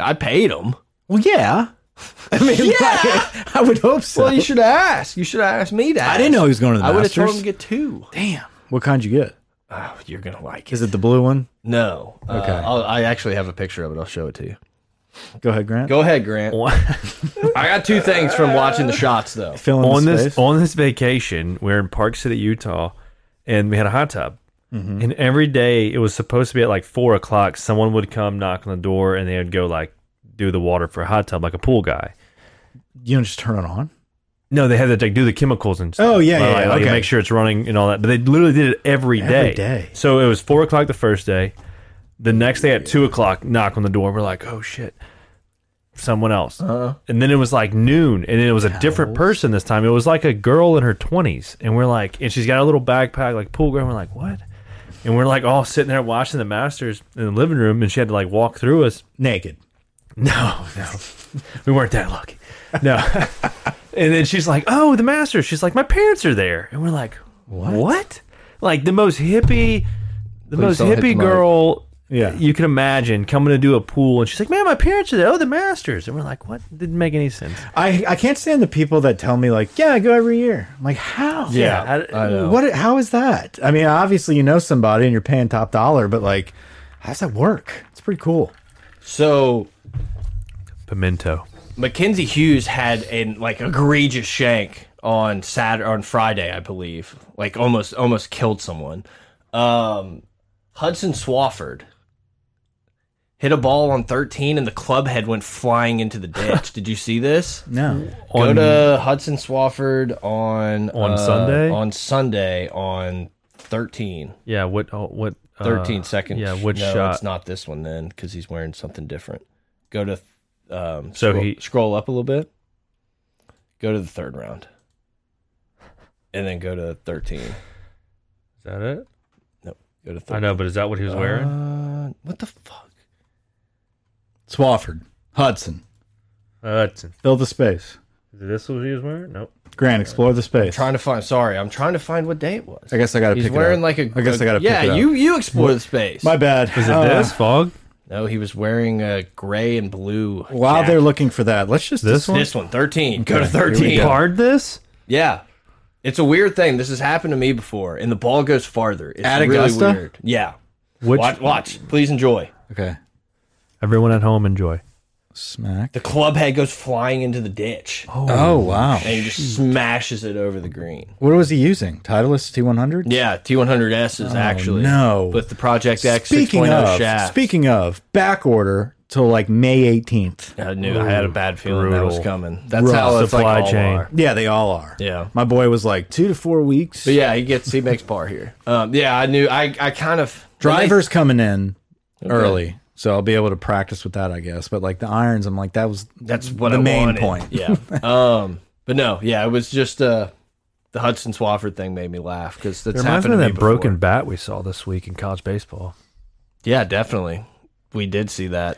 S5: I paid him.
S1: Well, yeah. I mean, like, I would hope so.
S5: Well, you should ask. You should ask me that.
S1: I didn't know he was going to the
S5: I would have
S1: Masters.
S5: told him to get two.
S1: Damn. What kind you get?
S5: Oh, you're gonna like it.
S1: Is it the blue one?
S5: No. Okay.
S1: Okay.
S5: I actually have a picture of it. I'll show it to you.
S1: Go ahead, Grant.
S5: Go ahead, Grant.
S3: What?
S5: I got two things from watching the shots though.
S1: Fill in
S3: on
S1: the
S3: this
S1: space.
S3: on this vacation, we are in Park City, Utah, and we had a hot tub. And every day it was supposed to be at like four o'clock. Someone would come knock on the door, and they would go like do the water for a hot tub, like a pool guy.
S1: you don't just turn it on.
S3: No, they had to like, do the chemicals and stuff.
S1: Oh, yeah,
S3: Like,
S1: yeah, yeah,
S3: like,
S1: okay.
S3: make sure it's running and all that. But they literally did it every day.
S1: Every day.
S3: So it was four o'clock the first day. The next day at two o'clock, knock on the door. We're like, oh shit. someone else.
S1: Uh-huh.
S3: And then it was like noon, and it was a different person this time. It was like a girl in her twenties, and we're like, and she's got a little backpack, like pool girl. And we're like, what? And we're like all sitting there watching the Masters in the living room, and she had to like walk through us.
S1: naked.
S3: No, no, we weren't that lucky. No. and then she's like, "Oh, the Masters." She's like, "My parents are there," and we're like, "What?" Like the most hippie, the most
S5: don't hit the
S3: hippie
S5: mic.
S3: girl.
S1: Yeah.
S3: you can imagine coming to do a pool, and she's like, "Man, my parents are there." Oh, the Masters, and we're like, "What?" Didn't make any sense.
S1: I I can't stand the people that tell me like, yeah, I go every year. I'm like, how?
S3: Yeah, I- I
S5: know.
S1: What? How is that? I mean, obviously you know somebody and you're paying top dollar, but like, how does that work? It's pretty cool.
S5: So
S3: Pimento.
S5: Mackenzie Hughes had an like egregious shank on Saturday on Friday, I believe. Like almost almost killed someone. Um, Hudson Swafford hit a ball on 13 and the club head went flying into the ditch. Did you see this?
S1: No.
S5: Go to Hudson Swafford on
S3: On
S5: uh,
S3: Sunday?
S5: On Sunday on 13.
S3: Yeah, what? Oh, what? uh,
S5: 13 seconds.
S3: Yeah, what
S5: no,
S3: shot?
S5: It's not this one then because he's wearing something different. Go to um,
S3: So
S5: scroll,
S3: he-
S5: scroll up a little bit. Go to the third round, and then go to 13.
S3: Is that it?
S5: Nope. Go to 13.
S3: I know, but is that what he was wearing?
S5: Uh, what the fuck?
S1: Swafford, Hudson,
S3: Hudson.
S1: fill the space.
S3: Is Uh, this what he was wearing? Nope.
S1: Grant, explore the space.
S5: Trying to find. Sorry, I'm trying to find what day it was.
S1: I guess I gotta
S5: He's
S1: pick it
S5: wearing
S1: up.
S5: like a.
S1: I guess I gotta pick
S5: Yeah,
S1: it up.
S5: you you explore the space.
S1: My bad.
S3: Is it
S1: Uh,
S3: this fog?
S5: no, he was wearing a gray and blue.
S1: While
S5: jacket.
S1: they're looking for that, let's just
S3: This one?
S5: this one 13. Go to
S1: Okay, here we
S5: 13.
S1: go.
S3: Hard this?
S5: Yeah. It's a weird thing. This has happened to me before, and the ball goes farther. It's
S1: At
S5: really
S1: Augusta?
S5: weird. Yeah.
S3: Which
S5: watch, watch. Please enjoy.
S1: Okay.
S3: everyone at home enjoy.
S1: Smack.
S5: The club head goes flying into the ditch,
S1: Oh wow.
S5: and he just smashes it over the green.
S1: What was he using? Titleist T100.
S5: Yeah, T100S is actually
S1: Oh, no.
S5: with the Project X
S1: Speaking
S5: 6.0
S1: of,
S5: shaft.
S1: speaking of, back order till like May 18th.
S5: I knew I had a bad feeling that was
S3: brutal.
S5: coming. That's how it's
S3: Supply
S5: like all
S3: chain.
S5: are.
S1: Yeah, they all are.
S5: Yeah.
S1: My boy was like two to four weeks.
S5: But yeah, he gets he makes par here. Um, yeah, I knew. I I kind of
S1: Driver's coming in early. So I'll be able to practice with that, I guess. But like the irons, I'm like, that was
S5: That's what
S1: the
S5: I
S1: main
S5: wanted.
S1: point.
S5: Yeah. um. But no. Yeah. It was just uh, the Hudson Swafford thing made me laugh because that's
S3: It reminds me
S5: happened
S3: of
S5: to
S3: that
S5: me before.
S3: broken bat we saw this week in college baseball.
S5: Yeah, definitely. We did see that.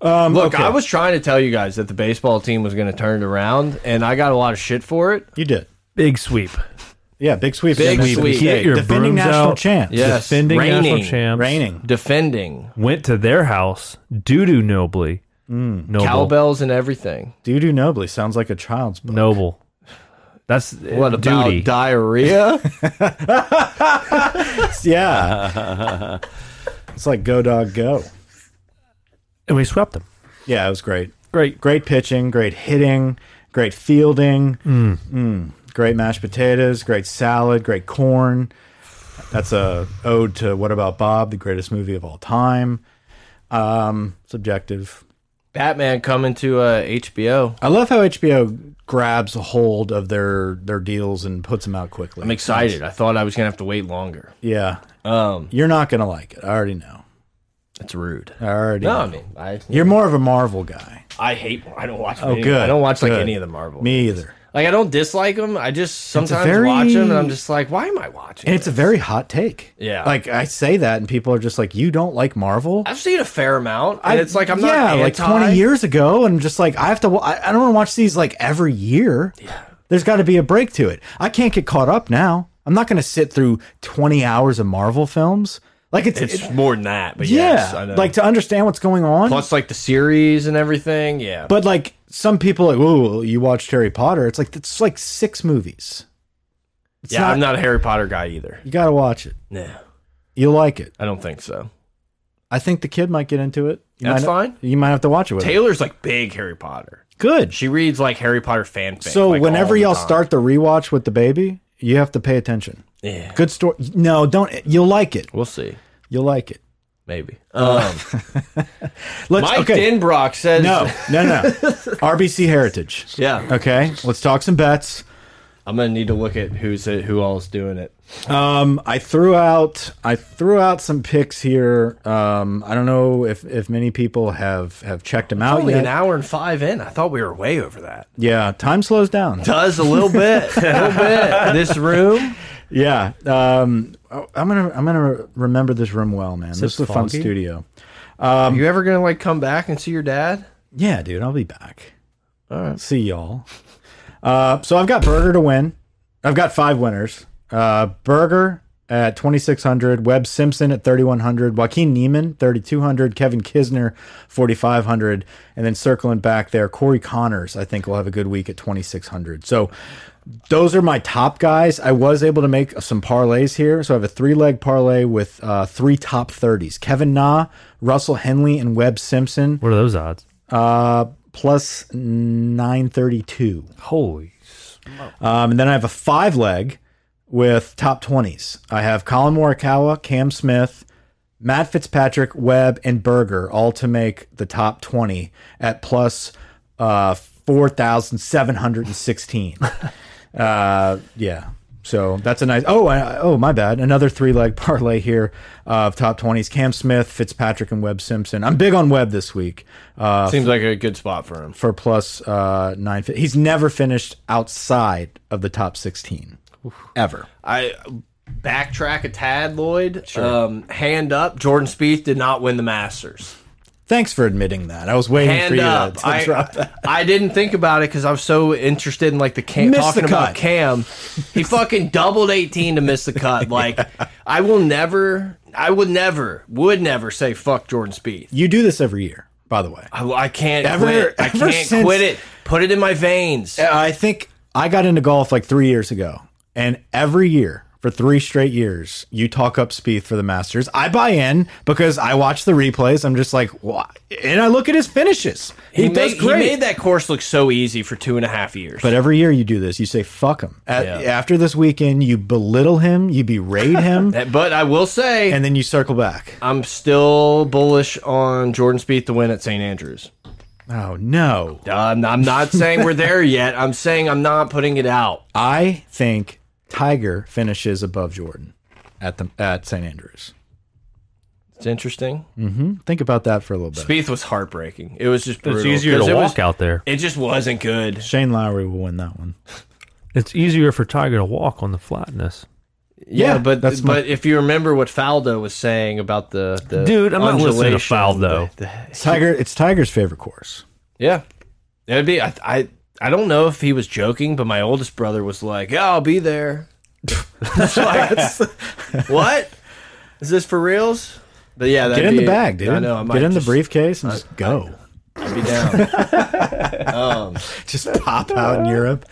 S1: Um,
S5: Look, I was trying to tell you guys that the baseball team was going to turn it around, and I got a lot of shit for it.
S1: You did.
S3: Big sweep.
S1: Yeah, big sweep.
S5: Big
S1: Defending-
S5: sweep.
S1: yeah,
S5: Get your
S1: Defending
S3: brooms
S1: national
S3: out.
S1: champs.
S5: Yes,
S3: Defending national
S5: reigning,
S3: champs.
S1: Raining.
S5: defending
S3: Went to their house, doo doo nobly.
S5: Mm.
S3: Noble.
S5: cowbells and everything.
S1: Doo doo nobly sounds like a child's book.
S3: Noble. That's uh,
S5: What about
S3: duty.
S5: diarrhea?
S1: Yeah. it's like go dog go.
S3: and we swept them.
S1: Yeah, it was great.
S3: Great.
S1: Great pitching, great hitting, great fielding, Mm. great mashed potatoes, great salad, great corn. That's a ode to What About Bob, the greatest movie of all time. Um, subjective.
S5: Batman coming to uh, HBO.
S1: I love how HBO grabs a hold of their their deals and puts them out quickly.
S5: I'm excited. I thought I was going to have to wait longer.
S1: yeah,
S5: Um,
S1: you're not gonna like it. I already know.
S5: that's rude.
S1: I already.
S5: No,
S1: know.
S5: I mean, I,
S1: You're more of a Marvel guy.
S5: I hate. I don't watch.
S1: Oh,
S5: any-
S1: good.
S5: I don't watch like
S1: good.
S5: any of the Marvel.
S1: Me either.
S5: Like I don't dislike them. I just sometimes
S1: very-
S5: watch them, and I'm just like, why am I watching?
S1: And it's a very hot take.
S5: Yeah.
S1: Like I say that, and people are just like, "You don't like Marvel."
S5: I've seen a fair amount, and it's like I'm
S1: yeah,
S5: not
S1: like
S5: anti.
S1: twenty years ago, and I'm just like I have to. wa- I, I don't want to watch these like every year. Yeah. There's got to be a break to it. I can't get caught up now. I'm not going to sit through twenty hours of Marvel films. Like it's,
S5: It's
S1: it-
S5: more than that, but
S1: yeah,
S5: yes, I know.
S1: like to understand what's going on.
S5: plus like the series and everything. Yeah,
S1: but like some people, are like, oh, you watched Harry Potter? It's like it's like six movies. It's
S5: yeah,
S1: not,
S5: I'm not a Harry Potter guy either.
S1: You got to watch it.
S5: No,
S1: You'll like it.
S5: I don't think so.
S1: I think the kid might get into it. You
S5: That's
S1: might-
S5: fine.
S1: You might have to watch it with. him.
S5: Taylor's like big Harry Potter.
S1: Good.
S5: She reads like Harry Potter fanfic.
S1: So
S5: like, all
S1: whenever
S5: the
S1: y'all
S5: time.
S1: start the rewatch with the baby, you have to pay attention.
S5: yeah,
S1: Good story. No, don't. You'll like it.
S5: we'll see.
S1: You'll like it.
S5: Maybe. Um,
S1: Let's.
S5: Mike
S1: okay.
S5: Denbrock says
S1: No, no, no. RBC Heritage.
S5: Yeah,
S1: Okay. Let's talk some bets.
S5: I'm gonna need to look at who's who all's doing it.
S1: Um, I threw out I threw out some picks here. Um, I don't know if if many people have have checked them out
S5: Only
S1: yet.
S5: an hour and five in. I thought we were way over that.
S1: Yeah, time slows down.
S5: Does a little bit, a little bit. This room.
S1: Yeah, um, I'm gonna I'm gonna remember this room well, man. this is a fun
S3: foggy?
S1: studio. Um,
S5: Are you ever gonna like come back and see your dad?
S1: Yeah, dude, I'll be back. All right. See y'all. Uh, so I've got Burger to win. I've got five winners. Uh, Burger at 2,600, Webb Simpson at 3,100, Joaquin Neiman, 3,200, Kevin Kisner, 4,500. And then circling back there, Corey Connors, I think, will have a good week at 2,600. So those are my top guys. I was able to make some parlays here. So I have a three leg parlay with uh, three top 30s Kevin Na, Russell Henley, and Webb Simpson
S3: What are those odds?
S1: uh, plus 932.
S3: Holy.
S1: Um, and then I have a five leg with top 20s. I have Colin Morikawa, Cam Smith, Matt Fitzpatrick, Webb, and Berger all to make the top 20 at plus uh, 4,716. uh, yeah. So that's a nice. Oh, I, oh, my bad. Another three leg parlay here of top 20s Cam Smith, Fitzpatrick, and Webb Simpson. I'm big on Webb this week. Uh,
S5: Seems like a good spot for him.
S1: for plus uh, nine. fi- He's never finished outside of the top sixteen ever.
S5: I backtrack a tad, Lloyd. Um, hand up. Jordan Spieth did not win the Masters.
S1: Thanks for admitting that. I was waiting for
S5: Hand
S1: you
S5: up.
S1: to, to
S5: I,
S1: drop that.
S5: I didn't think about it because I was so interested in like the cam
S1: Missed
S5: talking
S1: the
S5: about
S1: cut.
S5: Cam. He fucking doubled eighteen to miss the cut. Like I will never, I would never, would never say fuck Jordan Spieth.
S1: You do this every year, by the way.
S5: I, I can't
S1: Ever-
S5: quit. I
S1: ever
S5: can't
S1: since-
S5: quit it. Put it in my veins.
S1: I think I got into golf like three years ago, and every year for three straight years, you talk up Spieth for the Masters. I buy in because I watch the replays. I'm just like, "Why?" and I look at his finishes. He,
S5: He,
S1: does
S5: made, he
S1: great.
S5: made that course look so easy for two and a half years.
S1: But every year you do this. You say, fuck him. At,
S5: Yeah.
S1: After this weekend, you belittle him, you berate him,
S5: but I will say,
S1: and then you circle back.
S5: I'm still bullish on Jordan Spieth to win at St. Andrews.
S1: Oh no.
S5: I'm, I'm not saying we're there yet. I'm saying I'm not putting it out.
S1: I think Tiger finishes above Jordan at the at St Andrews.
S5: It's interesting.
S1: Think about that for a little bit.
S5: Spieth was heartbreaking. It was just brutal.
S3: It's easier to
S5: 'cause
S3: walk
S5: it was-
S3: out there.
S5: It just wasn't good.
S1: Shane Lowry will win that one.
S3: It's easier for Tiger to walk on the flatness.
S5: Yeah,
S1: Yeah,
S5: but
S1: that's my-
S5: but if you remember what Faldo was saying about the, the
S3: Dude, I'm not listening to
S5: undulation,
S3: Faldo.
S5: the- the-
S1: Tiger, it's Tiger's favorite course.
S5: Yeah, it'd be. I, I I don't know if he was joking, but my oldest brother was like, "Yeah, I'll be there." It's like, what is this for reals? But yeah, that'd
S1: Get in
S5: be-
S1: the bag, dude.
S5: I know. I might
S1: Get in
S5: just
S1: the briefcase and just go.
S5: Be down. Um,
S1: just pop out in Europe.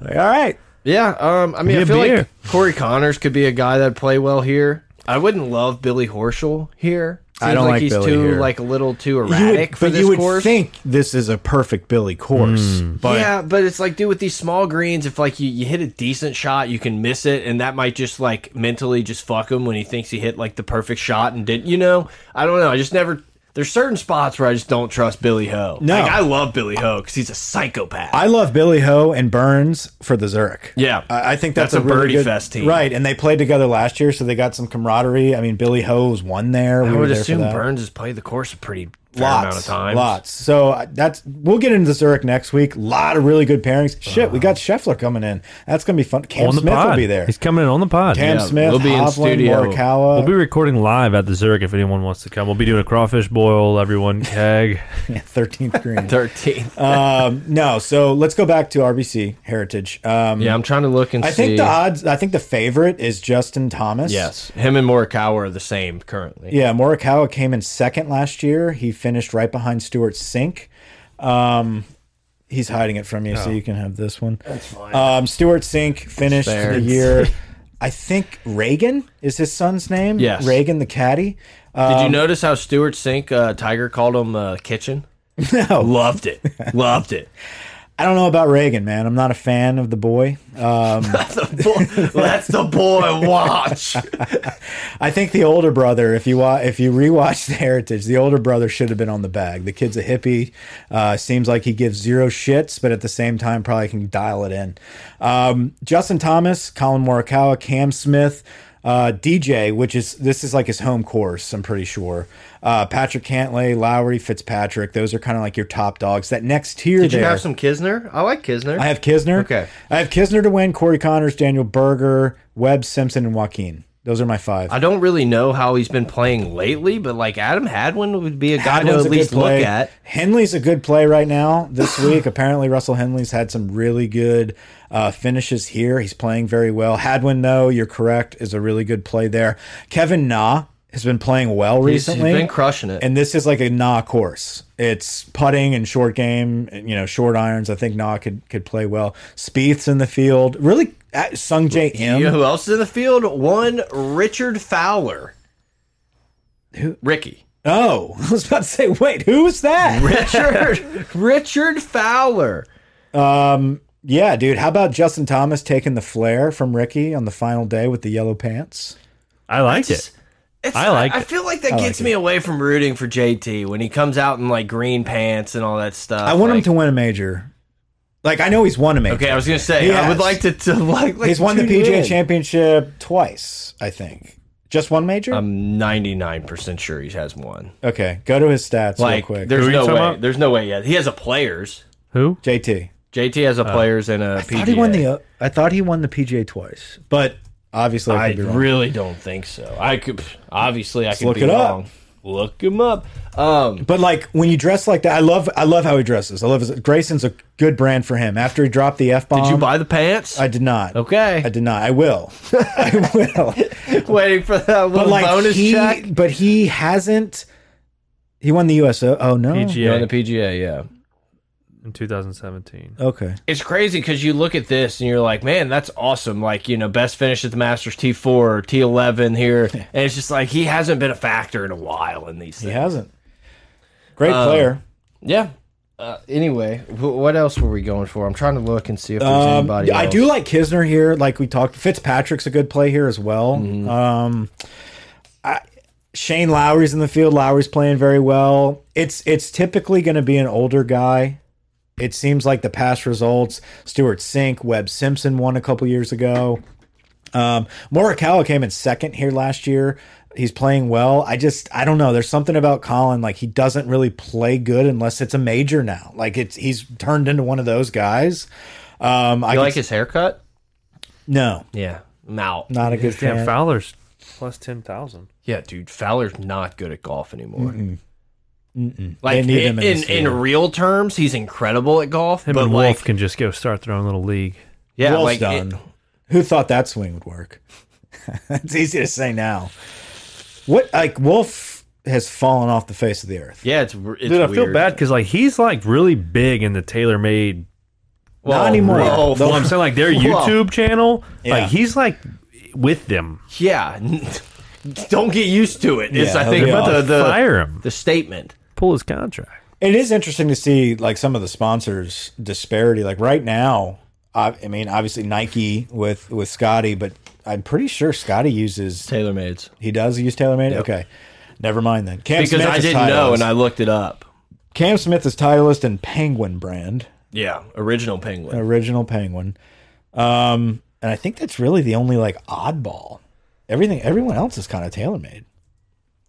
S1: Like, all right.
S5: yeah. Um. I mean,
S3: Be
S5: I
S3: a
S5: feel
S3: beer.
S5: like Corey Connors could be a guy that'd play well here. I wouldn't love Billy Horschel here.
S1: I
S5: Seems
S1: don't like
S5: he's
S1: Billy
S5: too
S1: here.
S5: like a little too
S1: You would-
S5: erratic for
S1: but
S5: this
S1: you would
S5: course.
S1: think this is a perfect Billy course. But
S5: yeah, but it's like, dude, with these small greens, if like you, you hit a decent shot, you can miss it, and that might just like mentally just fuck him when he thinks he hit like the perfect shot and didn't. You know, I don't know. I just never. There's certain spots where I just don't trust Billy Ho.
S1: No.
S5: like, I love Billy Ho because he's a psychopath.
S1: I love Billy Ho and Burns for the Zurich.
S5: Yeah.
S1: I, I think that's,
S5: That's a
S1: really
S5: birdie
S1: good-
S5: fest team.
S1: right? And they played together last year, so they got some camaraderie. I mean, Billy Ho's won there.
S5: I
S1: we were
S5: would
S1: there for
S5: assume
S1: that.
S5: Burns has played the course a pretty fair amount of
S1: lots,
S5: times.
S1: lots. So uh, that's we'll get into Zurich next week. A lot of really good pairings. Shit, we got
S5: Uh-huh.
S1: Scheffler coming in. That's gonna be fun. Cam
S3: on the
S1: Smith
S3: pod.
S1: will be there.
S3: He's coming in on the pod.
S1: Cam
S5: Yeah,
S1: Smith,
S5: we'll be in
S1: Hovland,
S5: studio.
S1: Morikawa.
S3: We'll be recording live at the Zurich if anyone wants to come. We'll be doing a crawfish boil, everyone keg.
S1: Thirteenth green.
S5: Thirteenth.
S1: um, no, so let's go back to RBC Heritage. Um,
S5: yeah, I'm trying to look and
S1: I
S5: see.
S1: think the odds. I think the favorite is Justin Thomas.
S5: yes, him and Morikawa are the same currently.
S1: Yeah, Morikawa came in second last year. He finished right behind Stuart Sink. Um, he's hiding it from you,
S5: Oh.
S1: so you can have this one. That's fine. Um, Stuart Sink finished
S5: Fair.
S1: the year. I think Reagan is his son's name.
S5: Yes.
S1: Reagan the caddy. Uh,
S5: Did you notice how Stewart Sink uh, Tiger called him uh, kitchen?
S1: no,
S5: Loved it. Loved it.
S1: I don't know about Reagan, man. I'm not a fan of the boy. Um,
S5: That's the boy watch.
S1: I think the older brother, if you wa if you rewatch the Heritage, the older brother should have been on the bag. The kid's a hippie. Uh, seems like he gives zero shits, but at the same time, probably can dial it in. Um, Justin Thomas, Colin Morikawa, Cam Smith, uh, DJ, which is this is like his home course. I'm pretty sure. Uh, Patrick Cantlay, Lowry, Fitzpatrick. Those are kind of like your top dogs. That next tier.
S5: Did you
S1: there,
S5: have some Kisner? I like Kisner.
S1: I have Kisner.
S5: Okay.
S1: I have Kisner to win. Corey Connors, Daniel Berger, Webb Simpson, and Joaquin. Those are my five.
S5: I don't really know how he's been playing lately, but like Adam Hadwin would be a guy
S1: Hadwin's
S5: to
S1: a
S5: at least
S1: good play.
S5: look at.
S1: Henley's a good play right now this week. Apparently, Russell Henley's had some really good uh, finishes here. He's playing very well. Hadwin, though, you're correct, is a really good play there. Kevin Na has been playing well
S5: He's, he's
S1: recently.
S5: been crushing it.
S1: and this is like a Nah course. It's putting and short game, you know, short irons. I think Nah could could play well. Spieth's in the field. Really, uh, Sung J M.
S5: you know who else is in the field? One Richard Fowler. Who? Ricky.
S1: Oh, I was about to say, wait, who's that?
S5: Richard Richard Fowler.
S1: Yeah, dude. How about Justin Thomas taking the flare from Ricky on the final day with the yellow pants?
S3: I liked it.
S5: It's,
S3: I like
S5: I
S3: it.
S5: feel like that gets me away from rooting for JT when he comes out in like green pants and all that stuff.
S1: I want
S5: like,
S1: him to win a major. Like I know he's won a major.
S5: Okay, I was gonna say
S1: He
S5: I
S1: has.
S5: would like to, to like, like
S1: he's won the
S5: tune you
S1: PGA
S5: in.
S1: Championship twice, I think. Just one major?
S5: I'm 99 percent sure he has one.
S1: okay, go to his stats
S5: Like,
S1: real quick.
S5: there's
S3: Who are you
S5: no way.
S3: talking about?
S5: There's no way yet. He has a players.
S3: Who?
S1: JT.
S5: JT has a players and a
S1: I thought he
S5: PGA.
S1: won the. uh, I thought he won the PGA twice, but obviously I
S5: I
S1: could be wrong.
S5: really don't think so. I could obviously I could
S1: look
S5: be
S1: it up.
S5: wrong. Look him up. Um,
S1: But like when you dress like that, I love. I love how he dresses. I love. His, Grayson's a good brand for him. After he dropped the f bomb,
S5: did you buy the pants?
S1: I did not.
S5: okay,
S1: I did not. I will. I will.
S5: waiting for that little
S1: but like
S5: bonus
S1: he,
S5: check.
S1: but he hasn't. He won the U.S. O- Oh no.
S5: You're on the
S3: PGA
S5: PGA, yeah.
S3: in 2017.
S1: Okay.
S5: It's crazy because you look at this and you're like, man, that's awesome. Like, you know, best finish at the Masters T4 or T11 here. And it's just like, he hasn't been a factor in a while in these
S1: He
S5: things.
S1: hasn't. Great
S5: Oh,
S1: player.
S5: Yeah. Uh, anyway, wh what else were we going for? I'm trying to look and see if there's
S1: Um,
S5: anybody.
S1: I
S5: else.
S1: do like Kisner here. Like we talked, Fitzpatrick's a good play here as well.
S5: Mm-hmm.
S1: Um, I, Shane Lowry's in the field. Lowry's playing very well. It's it's typically going to be an older guy. It seems like the past results. Stuart Sink, Webb Simpson won a couple years ago. Um, Morikawa came in second here last year. He's playing well. I just I don't know. There's something about Colin like he doesn't really play good unless it's a major now. Like it's he's turned into one of those guys. Um, I
S5: You
S1: could
S5: like his haircut?
S1: no,
S5: Yeah. I'm out.
S1: not a good
S3: Damn,
S1: fan.
S3: Fowler's plus 10,000.
S5: Yeah, dude. Fowler's not good at golf anymore.
S1: They
S5: Like,
S1: need
S5: in,
S1: him in
S5: in,
S1: this
S5: in
S1: field.
S5: real terms, he's incredible at golf.
S3: Him
S5: but,
S3: and
S5: like,
S3: Wolf can just go start their own little league.
S5: yeah,
S1: Well
S5: like,
S1: done.
S5: it-
S1: Who thought that swing would work? it's easy to say now. What like Wolf has fallen off the face of the earth.
S5: yeah, it's, r- it's
S3: Dude, I
S5: weird.
S3: feel bad because like he's like really big in the TaylorMade.
S5: Well,
S1: Not anymore.
S5: whoa,
S1: The-
S3: Well, I'm saying like their
S5: Whoa.
S3: YouTube channel.
S1: Yeah.
S3: Like he's like with them.
S5: Yeah. Don't get used to it. Is
S1: Yeah,
S5: I think
S1: they're
S5: the
S1: about
S5: the,
S3: Fire him.
S5: the statement.
S3: Pull his contract.
S1: It is interesting to see like some of the sponsors disparity. Like right now, I, I mean, obviously Nike with with Scotty, but I'm pretty sure Scotty uses
S5: TaylorMade's.
S1: he does use TaylorMade. Okay, never mind then. Cam
S5: Because
S1: Smith
S5: I
S1: is
S5: didn't know
S1: Titleist.
S5: and I looked it up.
S1: Cam Smith is Titleist and Penguin brand
S5: Yeah, original penguin.
S1: original Penguin, um, and I think that's really the only like oddball. Everything everyone else is kind of TaylorMade.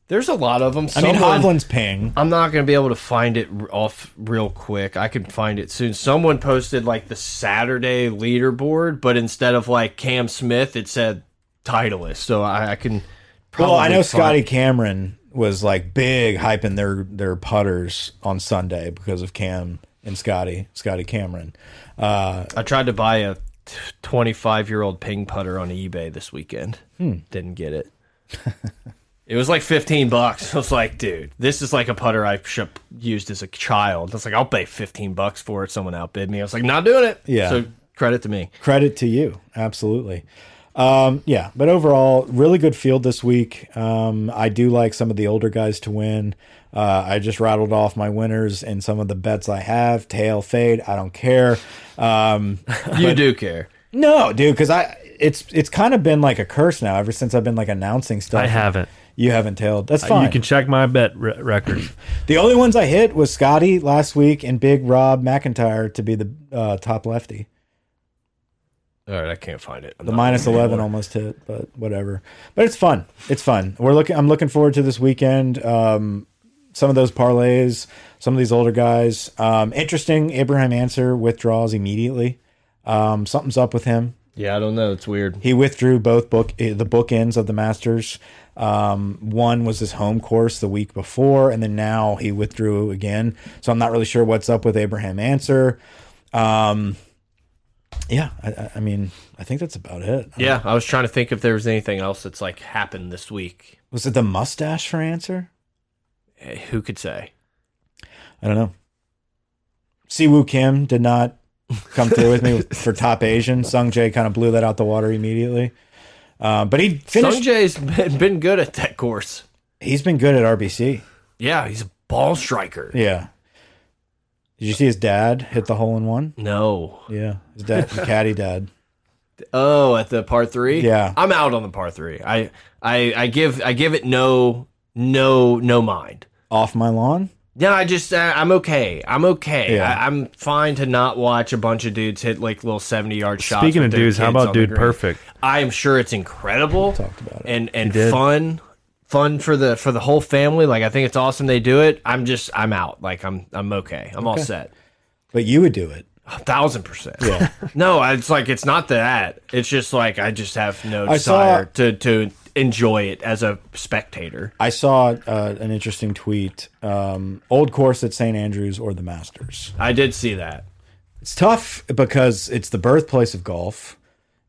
S5: There's a lot of them.
S1: I
S5: Someone,
S1: mean, Hovland's ping.
S5: I'm not going to be able to find it r- off real quick. I can find it soon. Someone posted like the Saturday leaderboard, but instead of like Cam Smith, it said Titleist. So I, I can. Probably
S1: Well, I know
S5: find-
S1: Scotty Cameron was like big hyping their their putters on Sunday because of Cam and Scotty, Scotty Cameron. Uh,
S5: I tried to buy a 25 year old ping putter on eBay this weekend. Didn't get it. it was like 15 bucks. I was like, dude, this is like a putter I should used as a child. I was like, I'll pay 15 bucks for it. Someone outbid me. I was like, not doing it.
S1: Yeah.
S5: So credit to me.
S1: credit to you, absolutely. Um, yeah, but overall, really good field this week. Um, I do like some of the older guys to win. Uh, I just rattled off my winners and some of the bets I have. Tail fade. I don't care. Um,
S5: You do care.
S1: no, dude, because I it's it's kind of been like a curse now ever since I've been like announcing stuff.
S3: I haven't.
S1: You haven't tailed. That's
S3: Uh,
S1: fine.
S3: You can check my bet re record.
S1: the only ones I hit was Scotty last week and Big Rob McIntyre to be the uh, top lefty.
S5: All right, I can't find it. I'm
S1: The
S5: not
S1: minus
S5: looking
S1: eleven
S5: anymore.
S1: almost hit, but whatever. But it's fun. It's fun. We're looking. I'm looking forward to this weekend. Um, some of those parlays, some of these older guys. Um, interesting. Abraham Answer withdraws immediately. Um, something's up with him.
S5: Yeah, I don't know. It's weird.
S1: He withdrew both book eh, the bookends of the Masters. Um, one was his home course the week before, and then now he withdrew again. So I'm not really sure what's up with Abraham Answer. Um, yeah, I- I, I mean, I think that's about it.
S5: Yeah, I was trying to think if there was anything else that's like happened this week.
S1: Was it the mustache for answer?
S5: Eh, Who could say?
S1: I don't know. Siwoo Kim did not come through with me for top Asian. Sung Jae kind of blew that out the water immediately. Uh, but he finished.
S5: Sungjae's been- been good at that course.
S1: he's been good at RBC.
S5: Yeah, he's a ball striker.
S1: Yeah. Did you see his dad hit the hole in one?
S5: No.
S1: Yeah, his dad, the caddy dad.
S5: Oh, at the par three.
S1: Yeah.
S5: I'm out on the par three. I I I give I give it no no no mind.
S1: Off my lawn.
S5: Yeah, I just uh, I'm okay. I'm okay.
S1: Yeah.
S5: I, I'm fine to not watch a bunch of dudes hit like little 70 yard shots.
S3: Speaking
S5: with
S3: of
S5: their
S3: dudes, how
S5: kids
S3: about
S5: on the
S3: dude
S5: green.
S3: perfect?
S5: I am sure it's incredible
S1: about it.
S5: and and fun, fun for the for the whole family. Like I think it's awesome they do it. I'm just I'm out. Like I'm I'm okay. I'm all set.
S1: But you would do it.
S5: A thousand percent. Yeah. no, I- it's like it's not that. It's just like I just have no
S1: I saw-
S5: desire to to enjoy it as a spectator.
S1: I saw uh, an interesting tweet. Um, old course at St Andrews or the Masters.
S5: I did see that.
S1: It's tough because it's the birthplace of golf.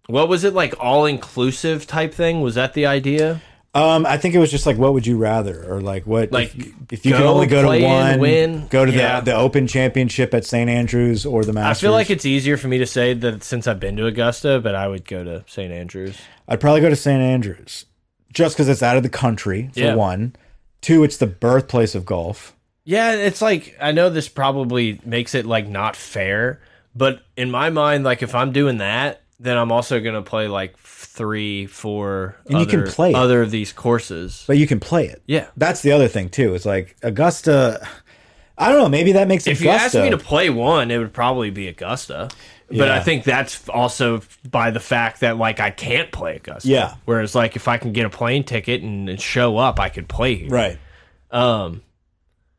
S5: What was it like all inclusive type thing? Was that the idea?
S1: Um, I think it was just like, what would you rather, or like what
S5: Like,
S1: if, if you can
S5: go,
S1: only go
S5: play
S1: to
S5: in,
S1: one,
S5: win?
S1: go to
S5: Yeah.
S1: the the Open Championship at St Andrews or the
S5: I
S1: Masters.
S5: feel like it's easier for me to say that since I've been to Augusta, but I would go to St. Andrews.
S1: I'd probably go to St Andrews just because it's out of the country for
S5: Yeah.
S1: one. Two, it's the birthplace of golf.
S5: Yeah, it's like I know this probably makes it like not fair, but in my mind, like if I'm doing that, then I'm also gonna play like three, four,
S1: And you
S5: other,
S1: can play it.
S5: other of these courses.
S1: but you can play it.
S5: Yeah.
S1: that's the other thing too. It's like Augusta. I don't know. Maybe that makes
S5: If you asked
S1: Augusta.
S5: me to play one, it would probably be Augusta. But
S1: Yeah.
S5: I think that's also by the fact that like I can't play Augusta.
S1: Yeah.
S5: Whereas like if I can get a plane ticket and show up, I could play here.
S1: right.
S5: Um,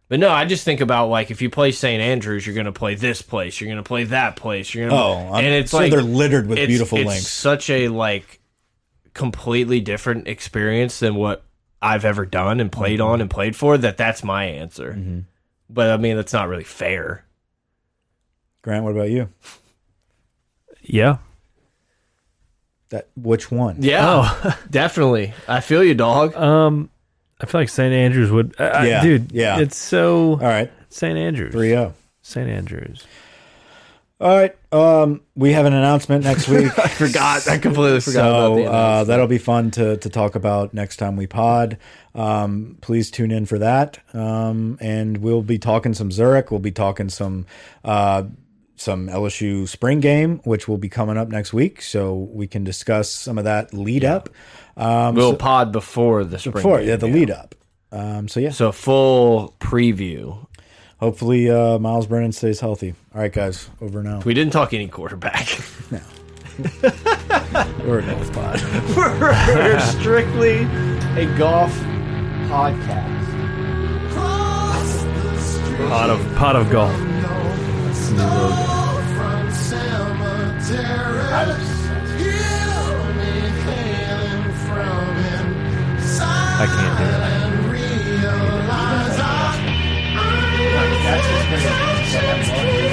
S5: but no, I just think about like if you play St. Andrews, you're going to play this place, you're going to play that place, you're going to.
S1: Oh, I'm-
S5: and it's
S1: so
S5: like
S1: they're littered with
S5: it's-
S1: beautiful
S5: it's
S1: links.
S5: Such a like completely different experience than what I've ever done and played
S1: Mm-hmm.
S5: on and played for. That that's my answer. But I mean, that's not really fair.
S1: Grant, what about you?
S3: Yeah.
S1: That which one?
S5: Yeah, definitely. Oh. I feel you, dog.
S3: Um, I feel like St. Andrews would. I- I-
S1: Yeah,
S3: dude.
S1: yeah.
S3: It's so
S1: All right,
S3: St. Andrews.
S1: three zero.
S3: St. Andrews.
S1: All right. Um, we have an announcement next week.
S5: I forgot. I completely forgot
S1: so
S5: about the.
S1: uh, that'll be fun to to talk about next time we pod. Um, please tune in for that. Um, and we'll be talking some Zurich. We'll be talking some uh, some LSU spring game, which will be coming up next week. So we can discuss some of that lead up.
S5: we'll pod before the spring.
S1: For
S5: game,
S1: yeah, the lead up. Um, so yeah,
S5: So full preview.
S1: hopefully uh, Miles Brennan stays healthy. All right, guys, over and out.
S5: We didn't talk any quarterback.
S1: We're at next pod.
S5: We're strictly a golf podcast.
S6: Cross the street.
S3: Pot of pot of golf.
S6: Stole from cemeteries. Heal me, hailing from inside.
S3: I can't do it.
S6: And realize I- I am touching